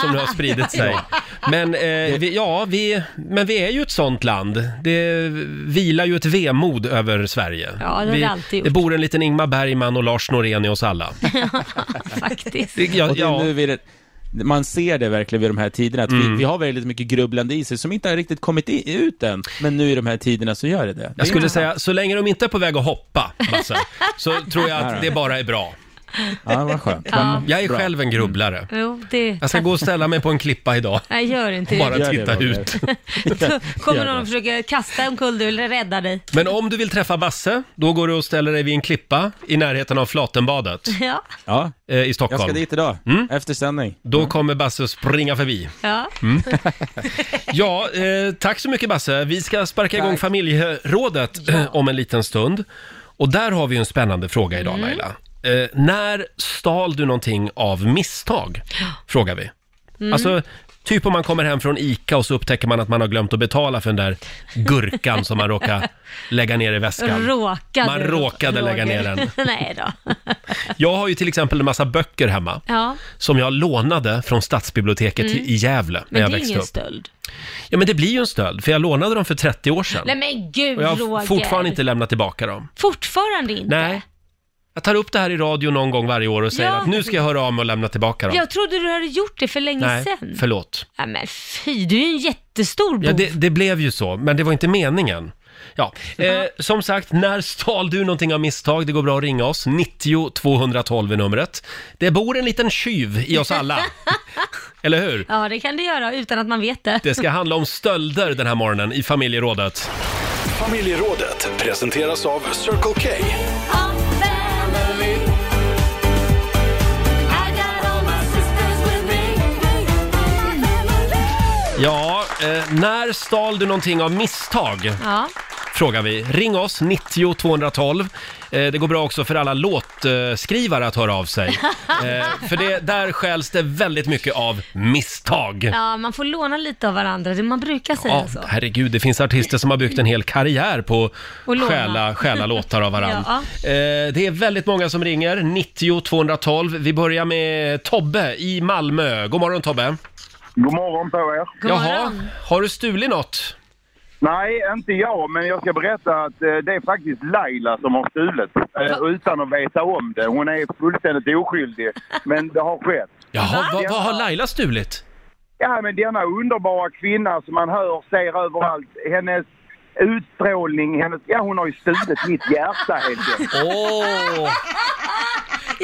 som nu har spridit sig. Ja. Men, eh, vi, ja, vi, men vi är ju ett sånt land. Det vilar ju ett vemod över Sverige. Ja, det har det vi, alltid gjort. Det bor en liten Ingmar Bergman och Lars Norén i oss alla. Faktiskt. Ja, och det Alltså, ja. är nu vi det, man ser det verkligen vid de här tiderna, att vi, vi har väldigt mycket grubblande i sig som inte har riktigt kommit i, ut än. Men nu i de här tiderna så gör det det. Det är Jag skulle intressant. säga, så länge de inte är på väg att hoppa, Basse, så tror jag att det bara är bra. Ja, vad skönt. Ja. Jag är själv en grubblare. Jo, det... Jag ska gå och ställa mig på en klippa idag. Nej, gör inte det. Bara titta ut. Då kommer någon och försöker kasta omkull dig eller rädda dig. Men om du vill träffa Basse, då går du och ställer dig vid en klippa i närheten av Flatenbadet Ja, Ja, eh, i jag Stockholm. ska dit idag, efter sändning. Då kommer Basse springa förbi. ja. Mm. Ja, eh, tack så mycket Basse. Vi ska sparka igång familjerådet eh, om en liten stund. Och där har vi ju en spännande fråga idag Mm. Laila. Eh, när stal du någonting av misstag? Frågar vi. Mm. Alltså, typ om man kommer hem från ICA och så upptäcker man att man har glömt att betala för den där gurkan som man råkade lägga ner i väskan. Råkade. Man råkade lägga Roger. ner den. Nej då. Jag har ju till exempel en massa böcker hemma Ja, som jag lånade från stadsbiblioteket i- i Gävle när jag Mm. men det är växte ingen upp. stöld. Ja, men det blir ju en stöld, för jag lånade dem för 30 år sedan. Nej men gud Och jag har Roger. f- fortfarande inte lämnat tillbaka dem. Fortfarande inte? Nej. Jag tar upp det här i radio någon gång varje år och säger Ja. att nu ska jag höra av mig och lämna tillbaka dem. Jag trodde du hade gjort det för länge Nej, sedan. förlåt. Ja, men fy, du är ju en jättestor bov. Ja, det, det blev ju så, men det var inte meningen. Ja, eh, som sagt, när stal du någonting av misstag? Det går bra att ringa oss. 90 212 är numret. Det bor en liten tjuv i oss alla. Eller hur? Ja, det kan du göra utan att man vet det. Det ska handla om stölder den här morgonen i familjerådet. Familjerådet presenteras av Circle K. Ja, eh, när stal du någonting av misstag? Ja. Frågar vi. Ring oss, 90 212. Eh, det går bra också för alla låtskrivare att höra av sig. Eh, för det, där stjäls det väldigt mycket av misstag. ja, man får låna lite av varandra. Det- Man brukar säga Ja, så. herregud, det finns artister som har byggt en hel karriär på Och låna. stjäla, stjäla låtar av varandra. Ja. Eh, det är väldigt många som ringer, 90 212. Vi börjar med Tobbe i Malmö. God morgon Tobbe! God morgon på er. God morgon. har du stulit något? Nej, inte jag, men jag ska berätta att eh, det är faktiskt Laila som har stulit. Eh, utan att veta om det. Hon är fullständigt oskyldig. Men det har skett. Jaha, vad, vad har Laila stulit? Ja, men denna underbara kvinna som man hör, ser överallt. Hennes utstrålning, hennes... Ja, hon har ju stulit mitt hjärta helt enkelt. Åh!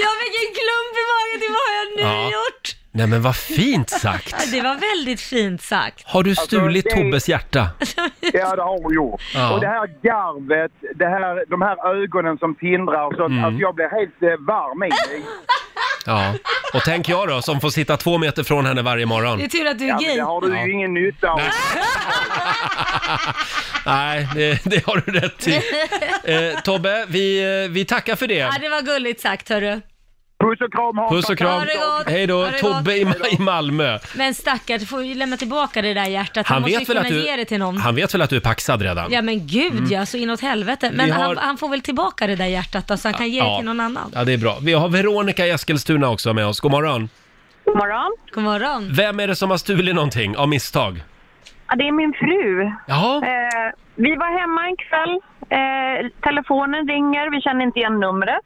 Jag fick en klump i magen till vad har jag nu Ja. gjort? Nej men vad fint sagt! Ja, det var väldigt fint sagt. Har du stulit Alltså, det- Tobbes hjärta? Ja, det har hon gjort. Ja. Och det här garvet, det här, de här ögonen som tindrar och sånt. Alltså jag blir helt eh, varm i det. Mm. Ja. Och tänk jag då, som får sitta två meter från henne varje Det är morgon. tur att du Ja, är men gay. det har du ju ingen nytta av. Nej, det, det har du rätt i. Eh, Tobbe, vi, eh, vi tackar för det. Ja, det var gulligt sagt hörru. Puss och kram, ha en Puss och kram. Ha det gott. Hej då, Ha det Tobbe i, i Malmö. Men stackare, du får ju lämna tillbaka det där hjärtat. Han, Han måste vet, ju väl att kunna du, ge det till någon. han vet väl att du är paxad redan? Ja men gud ja, så inåt helvete. Men Vi har- han, han får väl tillbaka det där hjärtat då, så han kan ge det till någon annan. Ja, det är bra. Vi har Veronica i Eskilstuna också med oss. God morgon. God morgon. God morgon. Vem är det som har stulit någonting av misstag? Ja, det är min fru. Jaha, Eh, vi var hemma en kväll. Eh, telefonen ringer, vi känner inte igen numret.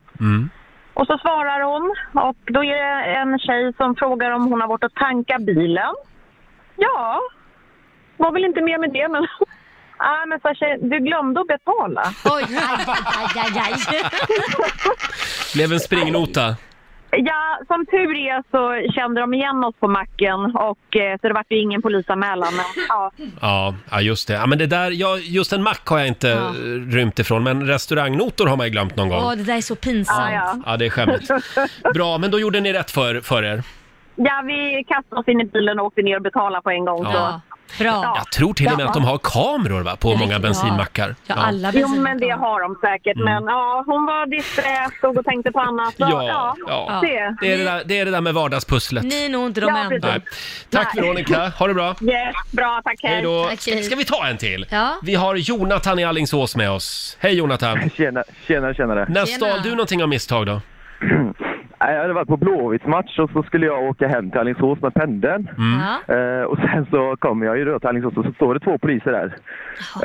Och så svarar hon och då är det en tjej som frågar om hon har varit och tankat bilen. Ja, var väl inte mer med det men... Ah, men sa tjejen, du glömde att betala. Oj, aj, aj, aj, aj. blev en springnota. Ja, som tur är så kände de igen oss på macken och eh, så det vart ju ingen polisanmälan. Men, ja. Ja, ja just det. Ja, men det där, ja, just en mack har jag inte ja. rymt ifrån, men restaurangnotor har man ju glömt någon gång. Åh, det där är så pinsamt. Ja, ja. Ja, det är skämmigt. Bra, men då gjorde ni rätt för, för er. ja, vi kastade oss in i bilen och åkte ner och betalade på en gång. Ja. Så. Bra. Jag tror till och med att de har kameror va, på många bensinmackar. Ja, alla Jo, bensin- men det har de Mm. säkert. Men ja, hon var disträ, stod och tänkte på annat. Så, Ja, ja, ja. Det. Det, är det, där, det är det där med vardagspusslet. Ni är nog inte de Ja, enda. Nej. Tack Nej. Veronica, ha det bra. Yes, bra, tack. Hej då. Tack, Ska, hej. ska vi ta en till? Ja. Vi har Jonathan i Alingsås med oss. Hej Jonathan! Tjena, tjenare, tjenare. När Tjena. stal du någonting av misstag då? Nej, Jag hade varit på Blåvitts match och så skulle jag åka hem till Alingsås med pendeln. Mm. Ja. Eh, och sen så kommer jag ju då till Alingsås och så står det två poliser där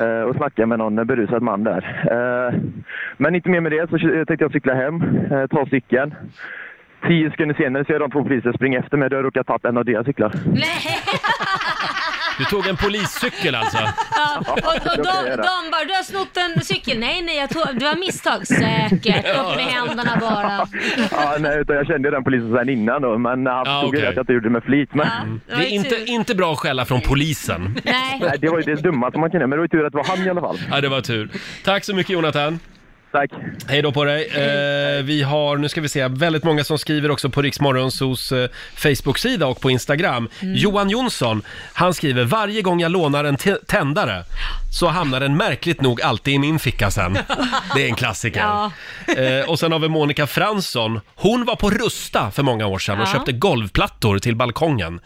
eh, och snackar med någon berusad man där. Eh, men inte mer med det så ky- tänkte jag cykla hem, eh, ta cykeln. Tio sekunder senare ser jag de två poliser springa efter mig. Då har jag råkat tappa en av deras cyklar. Nej, Du tog en poliscykel alltså? Ja, och, och de, de bara, du har snott en cykel. Nej, nej, jag tog, det var misstag. Säkert. Upp med händerna bara. Ja, nej, utan jag kände ju den polisen sen innan då, men eh, han förstod ju okej. att jag inte gjorde det med flit. Men... Det är inte, inte bra att skälla från polisen. Nej, det var ju det dummaste man kunde, men det var ju tur att det var han i alla fall. Ja, det var tur. Tack så mycket Jonathan. Tack. Hej då på dig. Eh, vi har, nu ska vi se, väldigt många som skriver också på Riksmorgonsos eh, Facebook-sida och på Instagram. Johan Jonsson, han skriver varje gång jag lånar en te- tändare så hamnar den märkligt nog alltid i min ficka sen. Det är en klassiker. Ja. Eh, och sen har vi Monica Fransson. Hon var på Rusta för många år sedan och Ja. köpte golvplattor till balkongen.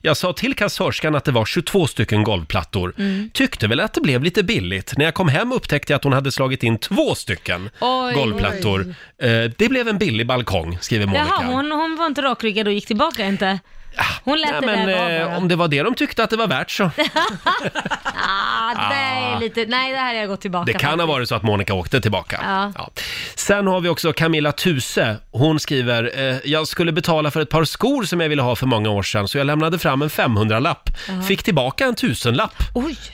Jag sa till kassörskan att det var 22 stycken golvplattor. Mm. Tyckte väl att det blev lite billigt. När jag kom hem upptäckte jag att hon hade slagit in två stycken Oj. golvplattor. Eh, det blev en billig balkong, skriver Monica. Jaha, hon, hon var inte rakryggad och gick tillbaka inte? Hon lät Nej, det men där vara eh, bara. om det var det de tyckte att det var värt så. Ah, det Ah. är lite... Nej, det här har jag gått tillbaka Det kan ha på. varit så att Monica åkte tillbaka. Ja. Sen har vi också Camilla Tuse. Hon skriver, eh, jag skulle betala för ett par skor som jag ville ha för många år sedan, så jag lämnade fram en 500-lapp. Ja. Fick tillbaka en tusenlapp.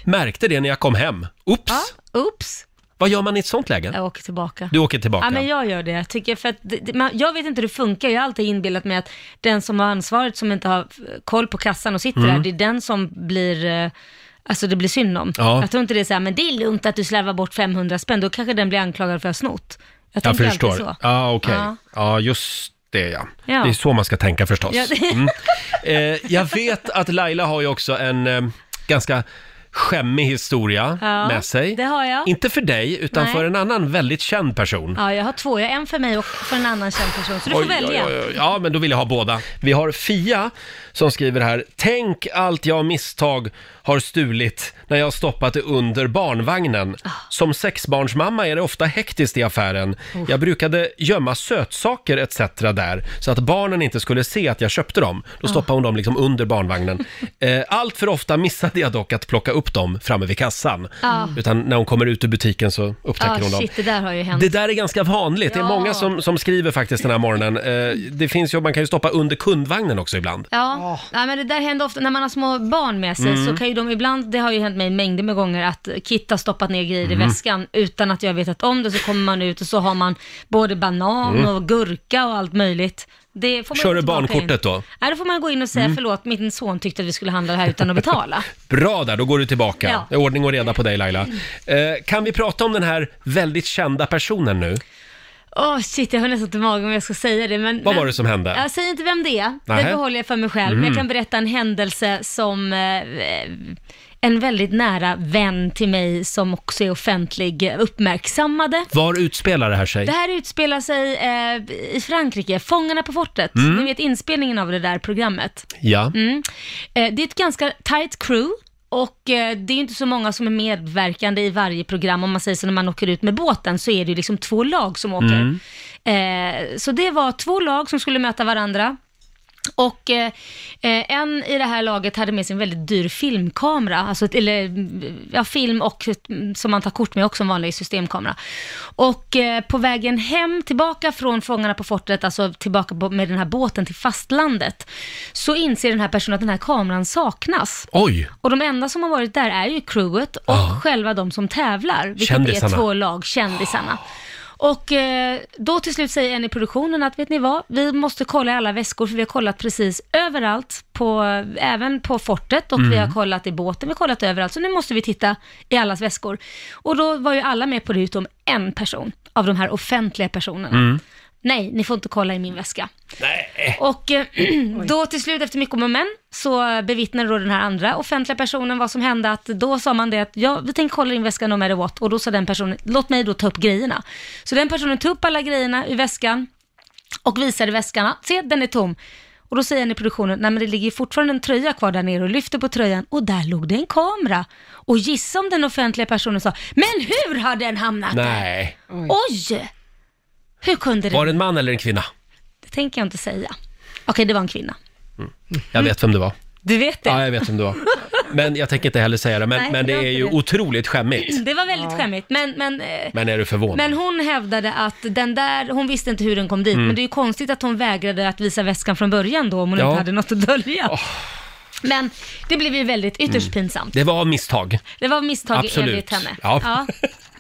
Märkte det när jag kom hem. Oops! Oops! Vad gör man i ett sånt läge? Jag åker tillbaka. Du åker tillbaka. Ja, men jag gör det. Jag, tycker för att det, det- man, jag vet inte hur det funkar. Jag har alltid inbillat mig att den som har ansvaret, som inte har eh, koll på kassan och sitter Mm. där, det är den som blir... eh, Alltså det blir synd om. Ja. Jag tror inte det är så här, men det är lugnt att du slarvar bort 500 spänn, då kanske den blir anklagad för att ha snott. Jag Jag tänker alltid förstår. så. Ja, okej. Ja. Ja, just det ja. Ja. Det är så man ska tänka förstås. Ja, det- Mm. Eh, jag vet att Laila har ju också en eh, ganska skämmig historia Ja, med sig. det har jag. Inte för dig, utan Nej. för en annan väldigt känd person. Ja, jag har två. Jag har en för mig och för en annan känd person. Så du får Oj, välja. oj, oj, oj. Ja, men då vill jag ha båda. Vi har Fia som skriver här. Tänk allt jag av misstag har stulit när jag stoppat det under barnvagnen. Ah. Som sexbarnsmamma är det ofta hektiskt i affären. Jag brukade gömma sötsaker etc. där så att barnen inte skulle se att jag köpte dem. Då Ah. stoppade hon dem liksom under barnvagnen. Eh, Allt för ofta missade jag dock att plocka upp dem framme vid kassan. Ja. Utan när hon kommer ut ur butiken så upptäcker Ja, hon dem. Ah. shit, det där har ju hänt. Det där är ganska vanligt. Det är många som, som skriver faktiskt den här morgonen. Eh, det finns ju, man kan ju stoppa under kundvagnen också ibland. Ja, nej, men det där händer ofta. När man har små barn med sig Ah. Mm. så kan ju de ibland, det har ju hänt mig mängder med gånger, att Kit har stoppat ner grejer i Mm. väskan utan att jag vetat om det. Så kommer man ut och så har man både banan Mm. och gurka och allt möjligt. Det får man Kör gå du tillbaka barnkortet in. då? Nej, då får man gå in och säga Mm. förlåt, min son tyckte att vi skulle handla det här utan att betala. Bra där, då går du tillbaka. Ja. Det är ordning och reda på dig Laila. Eh, kan vi prata om den här väldigt kända personen nu? Åh shit, jag har nästan till magen om jag ska säga det. Men, Vad men, Alltså- var det som hände? Jag säger inte vem det är, Nähä. det behåller jag för mig själv. Men Mm. jag kan berätta en händelse som eh, en väldigt nära vän till mig som också är offentlig uppmärksammade. Var utspelar det här sig? Det här utspelar sig eh, i Frankrike, Fångarna på fortet. Mm. Ni vet inspelningen av det där programmet. Ja. Mm. Eh, det är ett ganska tight crew. Och eh, det är ju inte så många som är medverkande i varje program. Om man säger så när man åker ut med båten så är det ju liksom två lag som åker. Mm. Eh, så det var två lag som skulle möta varandra. Och eh, eh, en i det här laget hade med sig en väldigt dyr filmkamera, alltså ett, eller mm, ja, film och ett, mm, som man tar kort med också, en vanlig systemkamera. Och eh, på vägen hem tillbaka från Fångarna på fortet, alltså tillbaka på- med den här båten till fastlandet, så inser den här personen att den här kameran saknas. Oj! Och de enda som har varit där är ju crewet och själva de som tävlar, vilket Kändisarna. är två lag, kändisarna. Och eh, då till slut säger en i produktionen att, vet ni vad, vi måste kolla i alla väskor, för vi har kollat precis överallt, på, även på fortet och Mm. vi har kollat i båten, vi har kollat överallt, så nu måste vi titta i allas väskor. Och då var ju alla med på det utom en person, av de här offentliga personerna. Mm. Nej, ni får inte kolla i min väska. Och eh, då till slut efter mycket om och men så bevittnade då den här andra offentliga personen vad som hände. Att då sa man det att ja, vi tänker kolla in väskan no matter what. Och då sa den personen, låt mig då ta upp grejerna. Så den personen tog upp alla grejerna ur väskan och visade väskan. "Ja, Se, den är tom. Och då säger han i produktionen, nej men det ligger ju fortfarande en tröja kvar där nere och lyfter på tröjan och där låg det en kamera. Och gissa om den offentliga personen sa, men hur har den hamnat där? Nej. Oj! Hur kunde det? Var det en man eller en kvinna? Det tänker jag inte säga. Okej, det var en kvinna. Jag vet vem det var. Du vet det? Ja, jag vet vem det var. Men jag tänker inte heller säga det, men, Nej, men det det var är inte ju det. otroligt skämmigt. Det var väldigt skämmigt, men, men, eh, Men är du förvånad? men hon hävdade att den där, hon visste inte hur den kom dit, Mm. men det är ju konstigt att hon vägrade att visa väskan från början då om hon Ja. inte hade något att dölja. Men det blev ju väldigt ytterst Mm. pinsamt. Det var av misstag. Det var misstag Absolut. enligt henne. Ja.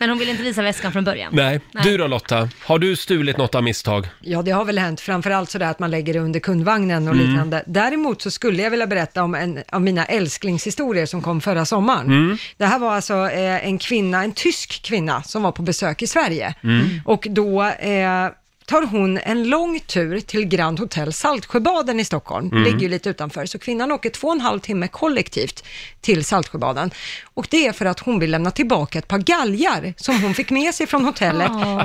Men hon ville inte visa väskan från början. Nej. Du då Lotta, har du stulit något av misstag? Ja, det har väl hänt, framförallt sådär att man lägger det under kundvagnen och Mm. liknande. Däremot så skulle jag vilja berätta om en av mina älsklingshistorier som kom förra sommaren. Mm. Det här var alltså eh, en kvinna, en tysk kvinna som var på besök i Sverige. Mm. Och då eh, tar hon en lång tur till Grand Hotel Saltsjöbaden i Stockholm. Mm. Ligger ju lite utanför, så kvinnan åker två och en halv timme kollektivt till Saltsjöbaden. Och det är för att hon vill lämna tillbaka ett par galgar som hon fick med sig från hotellet Åh.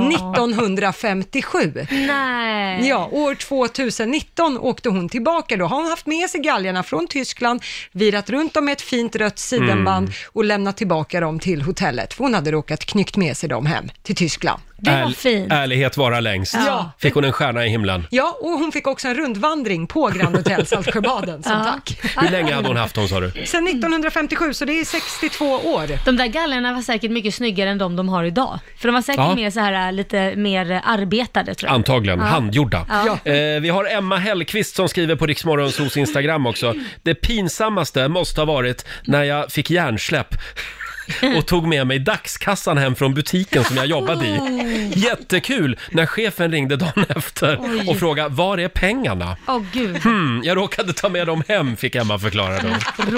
1957. Nej. Ja, år 2019 åkte hon tillbaka. Då har hon haft med sig galgarna från Tyskland, virat runt dem med ett fint rött sidenband Mm. och lämnat tillbaka dem till hotellet. För hon hade råkat knyckt med sig dem hem till Tyskland. Ärl- Ärlighet vara längst. Ja. Fick hon en stjärna i himlen? Ja, och hon fick också en rundvandring på Grand Hotel Saltsjöbaden som Ja. Mm. tack. Hur länge hade hon haft dem sa du? Sen 1957, så det är 62 år. De där gallerna var säkert mycket snyggare än de de har idag. För de var säkert Ja. mer så här äh, lite mer äh, arbetade tror jag. Antagligen, Ja. handgjorda. Ja. Eh, vi har Emma Hellqvist som skriver på Riksmorgonsos Instagram också. Det pinsammaste måste ha varit när jag fick hjärnsläpp och tog med mig dagskassan hem från butiken som jag jobbade i. Oh. Jättekul när chefen ringde dagen efter Oj. och frågade var är pengarna? Åh gud, Hmm, jag råkade ta med dem hem, fick Emma förklara då.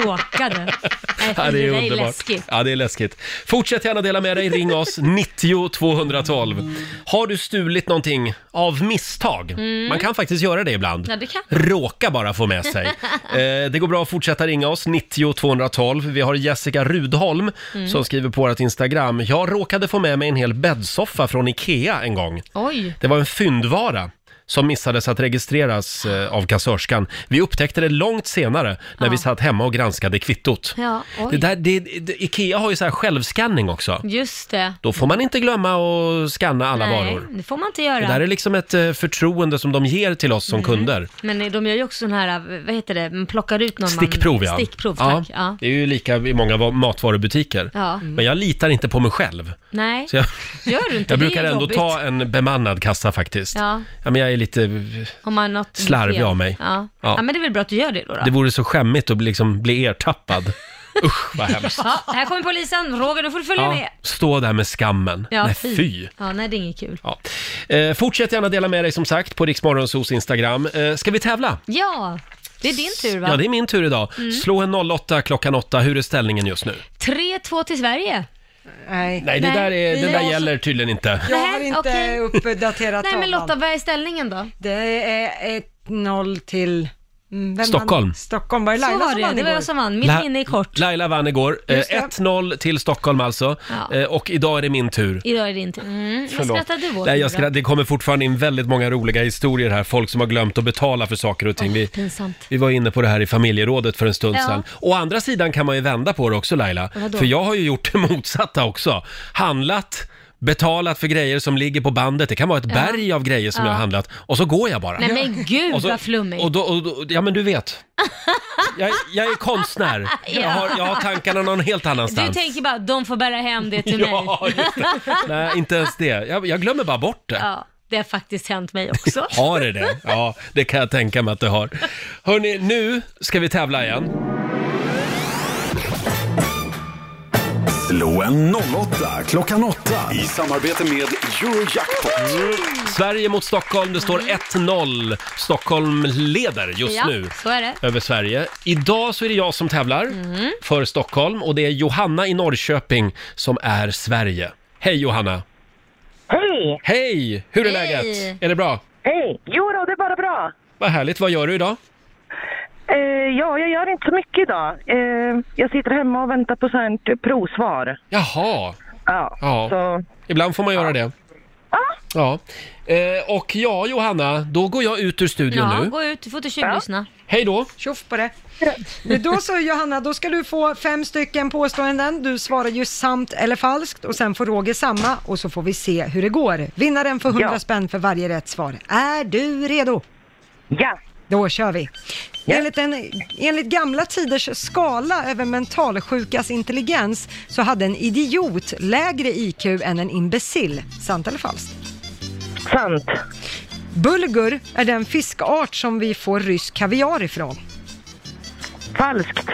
råkade. Nej, Ja, det är underbart. läskigt. Ja, det är läskigt. Fortsätt gärna dela med dig. Ring oss, 90 212. Har du stulit någonting av misstag? Mm. Man kan faktiskt göra det ibland. Ja, det kan. Råka bara få med sig. eh, det går bra att fortsätta ringa oss, 90 212. Vi har Jessica Rudholm Mm. som skriver på vårt Instagram. Jag råkade få med mig en hel bäddsoffa från Ikea en gång. Oj. Det var en fyndvara som missades att registreras eh, av kassörskan. Vi upptäckte det långt senare när vi satt hemma och granskade kvittot. Ja, oj. Det där, det, det, Ikea har ju så här självskanning också. Just det. Då får man inte glömma att skanna alla Nej, varor. det får man inte Det göra. där är liksom ett eh, förtroende som de ger till oss Mm. som kunder. Men de gör ju också sån här, vad heter det, man plockar ut någon Stickprov man... ja. Stickprov, tack. Ja. Det är ju lika i många va- matvarubutiker. Ja. Men jag litar inte på mig själv. Nej, Så jag, gör du inte jag det är brukar ändå jobbigt. ta en bemannad kassa faktiskt. Ja. Ja, men jag är lite om man har något Slarvig fel. av mig. Ja. Ja. Ja. men det är väl bra att du gör det då. då. Det vore så skämmigt att bli- liksom bli ertappad. Usch, vad hemskt. Ja, här kommer polisen. Roger, du får följa med. stå där med skammen. Ja, Nej, fy. Ja, nej, det är inget kul. Ja. Eh, fortsätt gärna dela med dig som sagt på Riksmorgonsos Instagram. Eh, ska vi tävla? Ja, det är din tur va? Ja, det är min tur idag. Mm. Slå en 08 klockan 8. Hur är ställningen just nu? 3-2 till Sverige. Nej, Nej, det där, är, det Jag- där gäller tydligen inte. Jag har inte okej. uppdaterat Nej, men tavlan. Lotta, vad är ställningen då? Det är 1-0 till... mm, vem Stockholm. vann? Stockholm var det Så Laila var som det, vann det var igår. jag som vann. Mitt La- minne är kort. Laila vann igår. Eh, Just det. 1-0 till Stockholm alltså. Ja. Eh, och idag är det min tur. Idag är det inte. Mm. Vad Förlåt. skrattar du åt? Nej, jag Laila? skratt, det kommer fortfarande in väldigt många roliga historier här. Folk som har glömt att betala för saker och ting. Vi, Pinsamt. vi var inne på det här i familjerådet för en stund Ja. sedan. Å andra sidan kan man ju vända på det också Laila. Vadå? För jag har ju gjort det motsatta också. Handlat, betalat för grejer som ligger på bandet. Det kan vara ett Ja. berg av grejer som Ja. jag har handlat. Och så går jag bara. Nej men gud Och så- vad flummigt. Och då, och då, ja men du vet. Jag, jag är konstnär. Jag, Ja. har, jag har tankarna någon helt Du annanstans. tänker bara, de får bära hem det till Ja, mig. just Nej, inte ens det. Jag, jag glömmer bara bort det. ja, det har faktiskt hänt mig också. Har det det? Ja, det kan jag tänka mig att det har. Hörni, nu ska vi tävla igen. Slå en 08 klockan 8 i samarbete med Eurojackpot. Sverige mot Stockholm, det står 1-0. Stockholm leder just ja, nu så är det. över Sverige. Idag så är det jag som tävlar Mm. för Stockholm och det är Johanna i Norrköping som är Sverige. Hej Johanna! Hej! Hej! Hur är Hej. läget? Är det bra? Hej! Jo då, det är bara bra. Vad härligt, vad gör du idag? Eh, ja, jag gör inte så mycket idag. Eh, jag sitter hemma och väntar på sånt provsvar. Jaha! Ja. Ja, Så, ibland får man göra det. Ja. Eh, och ja, Johanna, då går jag ut ur studion Ja, nu. gå ut, du får inte tjuvlyssna. Hej då! Tjoff på det. Men Då så Johanna, då ska du få fem stycken påståenden. Du svarar ju sant eller falskt och sen får Roger samma och så får vi se hur det går. Vinnaren får 100 Ja. spänn för varje rätt svar. Är du redo? Ja. Då kör vi. Enligt, en, enligt gamla tiders skala över mentalsjukas intelligens så hade en idiot lägre IQ än en imbecill. Sant eller falskt? Sant. Bulgur är den fiskart som vi får rysk kaviar ifrån. Falskt.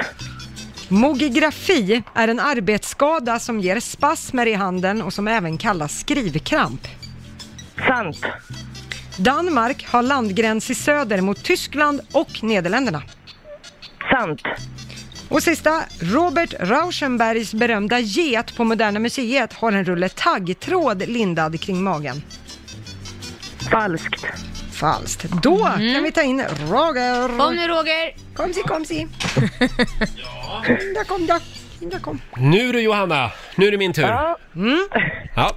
Mogigrafi är en arbetsskada som ger spasmer i handen och som även kallas skrivkramp. Sant. Danmark har landgräns i söder mot Tyskland och Nederländerna. Sant. Och sista, Robert Rauschenbergs berömda get på Moderna Museet har en rulle taggtråd lindad kring magen. Falskt. Falskt. Då kan vi ta in Roger. Kom nu Roger! Kom si, kom si. Kinda kom då. Kinda kom. Nu du Johanna, nu är det min tur. Ja. Mm.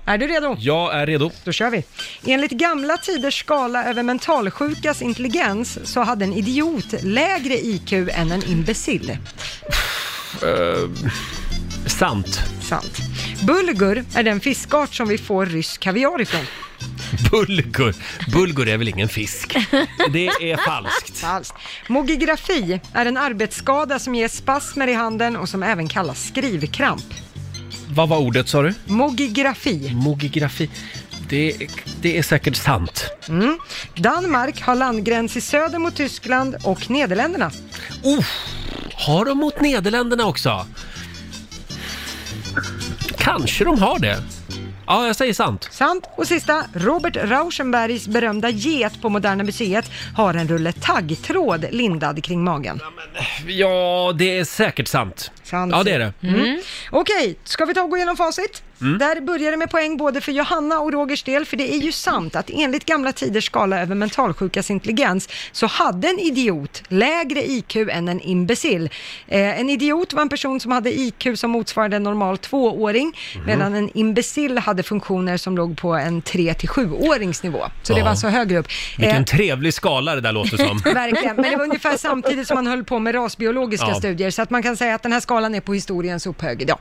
Är du redo? Jag är redo. Då kör vi. Enligt gamla tiders skala över mentalsjukas intelligens så hade en idiot lägre IQ än en imbecill. Eh, sant. Sant. Bulgur är den fiskart som vi får rysk kaviar ifrån. Bulgur. Bulgur är väl ingen fisk? Det är falskt. Falskt. Mogigrafi är en arbetsskada som ger spasmer i handen och som även kallas skrivkramp. Vad var ordet sa du? Mogigrafi. Mogigrafi. Det, det är säkert sant. Mm. Danmark har landgräns i söder mot Tyskland och Nederländerna. Oh, har de mot Nederländerna också? Kanske de har det. Ja, jag säger sant. Sant. Och sista, Robert Rauschenbergs berömda get på Moderna Museet har en rulle taggtråd lindad kring magen. Ja, det är säkert sant. Sant. Ja, det är det. Mm. Okej, ska vi ta och gå igenom facit? Mm. Där börjar det med poäng både för Johanna och Rogers del, för det är ju sant att enligt gamla tiders skala över mentalsjukas intelligens så hade en idiot lägre IQ än en imbecill. Eh, en idiot var en person som hade IQ som motsvarade en normal tvååring, Mhm. medan en imbecill hade funktioner som låg på en tre till sjuårings nivå. Så det Ja. var alltså högre upp. Vilken Eh, trevlig skala det där låter som. Verkligen, men det var ungefär samtidigt som man höll på med rasbiologiska Ja. studier, så att man kan säga att den här skalan är på historiens upphög idag.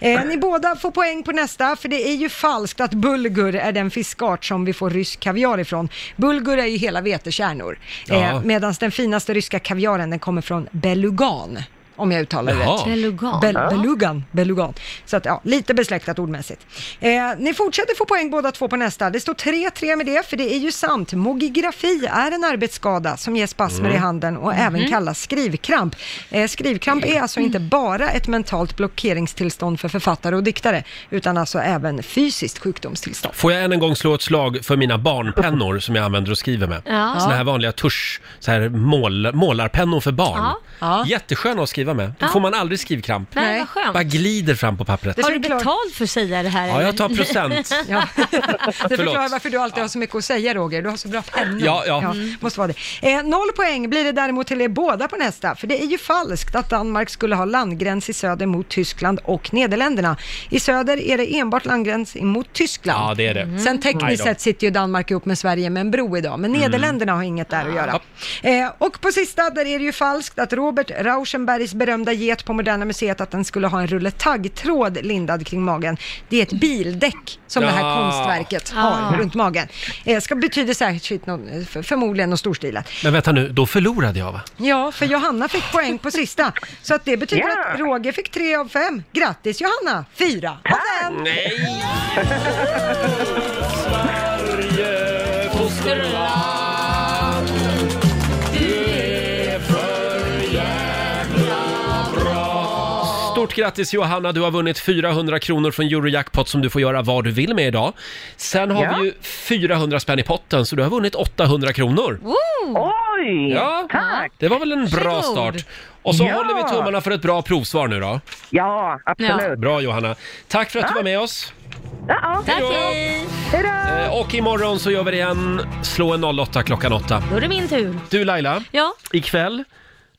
Eh, ni båda får poäng på nästa, för det är ju falskt att bulgur är den fiskart som vi får rysk kaviar ifrån. Bulgur är ju hela vetekärnor, eh, Ja. medan den finaste ryska kaviaren den kommer från belugan. Om jag uttalar det Jaha. rätt. Belugan. Bel- Ja. belugan. Belugan. Så att, ja, lite besläktat ordmässigt. Eh, ni fortsätter få poäng båda två på nästa. Det står 3-3 med det, för det är ju sant. Mogigrafi är en arbetsskada som ger spasmer Mm. i handen och även Mhm. kallas skrivkramp. Eh, skrivkramp är alltså inte bara ett mentalt blockeringstillstånd för författare och diktare, utan alltså även fysiskt sjukdomstillstånd. Får jag än en gång slå ett slag för mina barnpennor som jag använder och skriver med? Ja. Såna här vanliga tusch, så här mål, målarpennor för barn. Ja. Jättesköna att skriva med. Då Ja. får man aldrig skrivkramp. Nej, vad skönt. Bara glider fram på pappret. Har du betalt för att säga det här? Ja, jag eller? tar procent. Ja. Det förklarar Förlåt. varför du alltid har så mycket att säga Roger, du har så bra penna. Ja, ja. Mm. måste vara det. Eh, noll poäng blir det däremot till er båda på nästa, för det är ju falskt att Danmark skulle ha landgräns i söder mot Tyskland och Nederländerna. I söder är det enbart landgräns mot Tyskland. Ja, det är det. Mm. Sen Aj tekniskt då. sett sitter ju Danmark ihop med Sverige med en bro idag, men Mm. Nederländerna har inget där att göra. Eh, och på sista, där är det ju falskt att Robert Rauschenbergs berömda get på Moderna Museet, att den skulle ha en rulle taggtråd lindad kring magen. Det är ett bildäck som det här Ja. konstverket Ah. har runt magen. Eh, ska betyda särskilt någon, för- förmodligen något storstilat. Men vänta nu, då förlorade jag va? Ja, för Johanna fick poäng på sista. Så att det betyder Ja. att Roger fick tre av fem. Grattis Johanna! Fyra av fem! Nej! Stort grattis Johanna, du har vunnit 400 kronor från Eurojackpot som du får göra vad du vill med idag. Sen har Ja. vi ju 400 spänn i potten så du har vunnit 800 kronor. Oj! Ja, det var väl en bra Varsågod. start. Och så Ja. håller vi tummarna för ett bra provsvar nu då. Ja, absolut. Bra Johanna. Tack för att du var med oss. Ja. Tack, Hejdå. hej. Eh, Och imorgon så gör vi det igen. Slå en 08 klockan 8. Då är det min tur. Du Laila, Ja. ikväll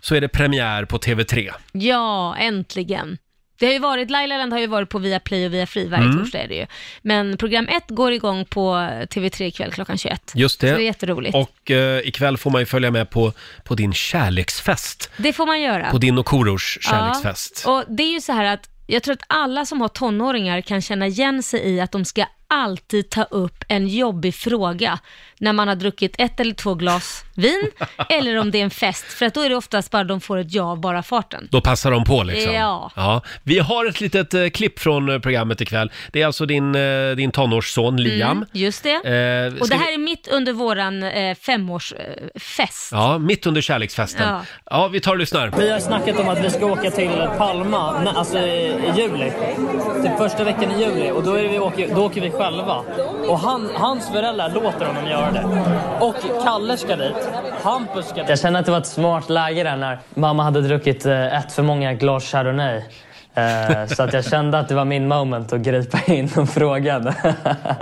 så är det premiär på TV3. Ja, äntligen. Det har ju varit, Laila Land har ju varit på Viaplay och Viafree varje Mm. torsdag är det ju. Men program 1 går igång på TV3 ikväll klockan 21. Just det. Så det är jätteroligt. Och eh, ikväll får man ju följa med på, på din kärleksfest. det får man göra. På din och Korosh kärleksfest. Ja. Och det är ju så här att jag tror att alla som har tonåringar kan känna igen sig i att de ska alltid ta upp en jobbig fråga när man har druckit ett eller två glas vin eller om det är en fest. För att då är det oftast bara de får ett ja av bara farten. Då passar de på liksom. Ja. Vi har ett litet eh, klipp från eh, programmet ikväll. Det är alltså din, eh, din tonårsson Liam. Mm, just det. Eh, och ska det här vi- är mitt under våran eh, femårsfest. Ja, mitt under kärleksfesten. Ja, Ja. vi tar och lyssnar. Vi har snackat om att vi ska åka till Palma, nä- alltså i i juli. Typ första veckan i juli och då, är det vi åker, då åker vi själva. Och han, hans föräldrar låter honom göra det. Och Kalle ska dit. Hampus ska dit. Jag känner att det var ett smart läge där när mamma hade druckit eh, ett för många glas Chardonnay. Eh, Så att jag kände att det var min moment att gripa in och fråga.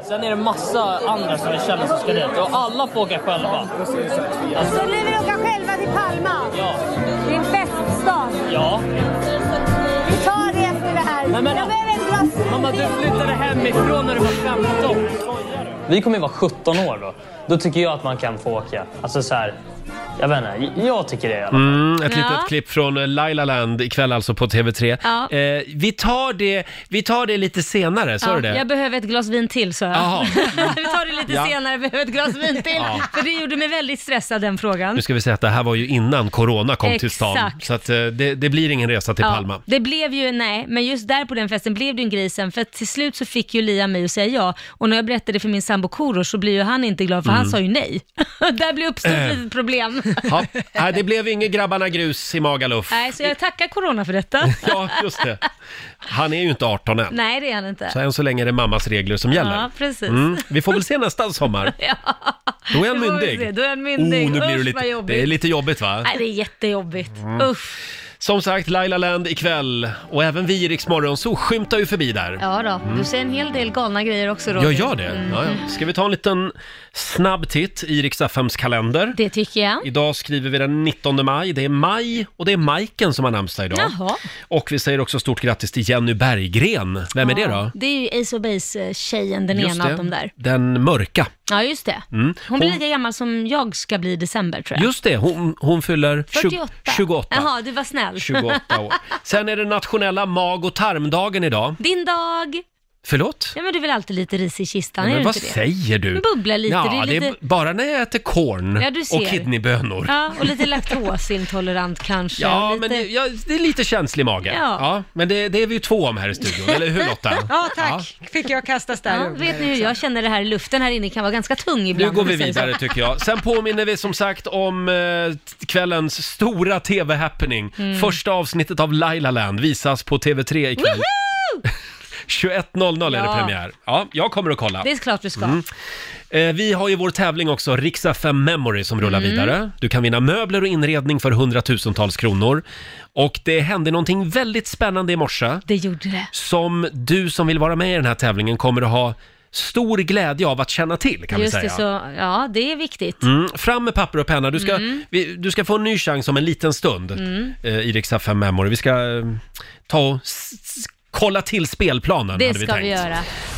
Sen är det massa andra som vi känner som ska dit och alla får åka själva. Alltså, Så ni vill åka själva till Palma? Ja. Det är en feststad. ja. Vi tar det efter det här. Nej, men- jag behöver ett glas Mamma, du flyttade hemifrån när du var 15. Vi kommer ju vara 17 år då. Då tycker jag att man kan få åka. Alltså så här, jag vet inte, jag tycker det i alla fall. Mm, ett Ja. litet klipp från eh, Laila Land ikväll alltså på TV3. Ja. Eh, vi, tar det, vi tar det lite senare, sa Ja, du det? Jag behöver ett glas vin till, sa jag. Jaha. Vi tar det lite Ja. senare, jag behöver ett glas vin till. Ja. För det gjorde mig väldigt stressad, den frågan. Nu ska vi säga att det här var ju innan corona kom till stan. Exakt. Så att, eh, det, det blir ingen resa till Ja, Palma. Det blev ju, nej, men just där på den festen blev det ju en grej sen, för att till slut så fick ju Liam mig att säga ja. Och när jag berättade för min sambo Korosh så blir ju han inte glad, för Mm. han sa ju nej. där blev uppstod Eh. ett litet problem. Ja, nej, det blev inget grabbarna grus i Magaluf. nej, så jag tackar Corona för detta. Ja, just det. Han är ju inte 18 än. nej, det är han inte. Så än så länge är det mammas regler som gäller. Mm. Ja, precis. Vi får väl se nästa sommar. Då är han Då får vi myndig. se, Då är han myndig. Oh, nu blir det, Usch, vad lite, jobbigt. det är lite jobbigt va? Nej, det är jättejobbigt. Mm. Usch. Som sagt, Laila Land ikväll och även vi i Rix Morgon så skymtar ju förbi där. Ja då, Mm. du säger en hel del galna grejer också Roger. Gör jag det? Mm. Ja, ja. Ska vi ta en liten snabb titt i Rix FMs kalender? Det tycker jag. Mm. Idag skriver vi den 19 maj. Det är maj och det är Majken som har namnsdag idag. Jaha. Och vi säger också stort grattis till Jenny Berggren. Vem är det då? Det är ju Ace of Base-tjejen, den Just ena det. av dem där. Den mörka. Ja, just det. Mm. Hon blir lika gammal som jag ska bli i december tror jag. Just det, hon, hon fyller 48. 28. Jaha, du var snäll. 28 år. Sen är det nationella mag och tarmdagen idag. Din dag. Förlåt? Ja, men du är väl alltid lite risig i kistan, Nej, är men du vad inte det? säger du? Men bubbla lite, det Ja, är det är lite- b- bara när jag äter korn Ja, du ser. och kidneybönor. Ja, Ja, och lite laktosintolerant kanske. lite... men det, ja, det är lite känslig mage. Ja. men det, det är vi ju två om här i studion, eller hur Lotta? Ja, tack. Fick jag kastas där. Ja, vet ni hur jag känner det här? Luften här inne kan vara ganska tung Nu ibland. går om vi jag säger så. vidare tycker jag. Sen påminner vi som sagt om eh, t- kvällens stora TV-happening. Mm. Första avsnittet av Laila Land visas på TV3 ikväll. Woohoo! 21.00 är det Ja. premiär. Ja, jag kommer att kolla. Det är klart du ska. Eh, Vi har ju vår tävling också, Riksa 5 Memory, som rullar Mm. vidare. Du kan vinna möbler och inredning för hundratusentals kronor. Och det hände någonting väldigt spännande i morse. Det gjorde det. Som du som vill vara med i den här tävlingen kommer att ha stor glädje av att känna till, kan Just vi säga. det, så, ja det är viktigt. Mm, fram med papper och penna. Du ska, Mm. vi, du ska få en ny chans om en liten stund Mm. eh, i Riksa 5 Memory. Vi ska eh, ta och s- s- kolla till spelplanen, Det hade vi ska tänkt. vi göra.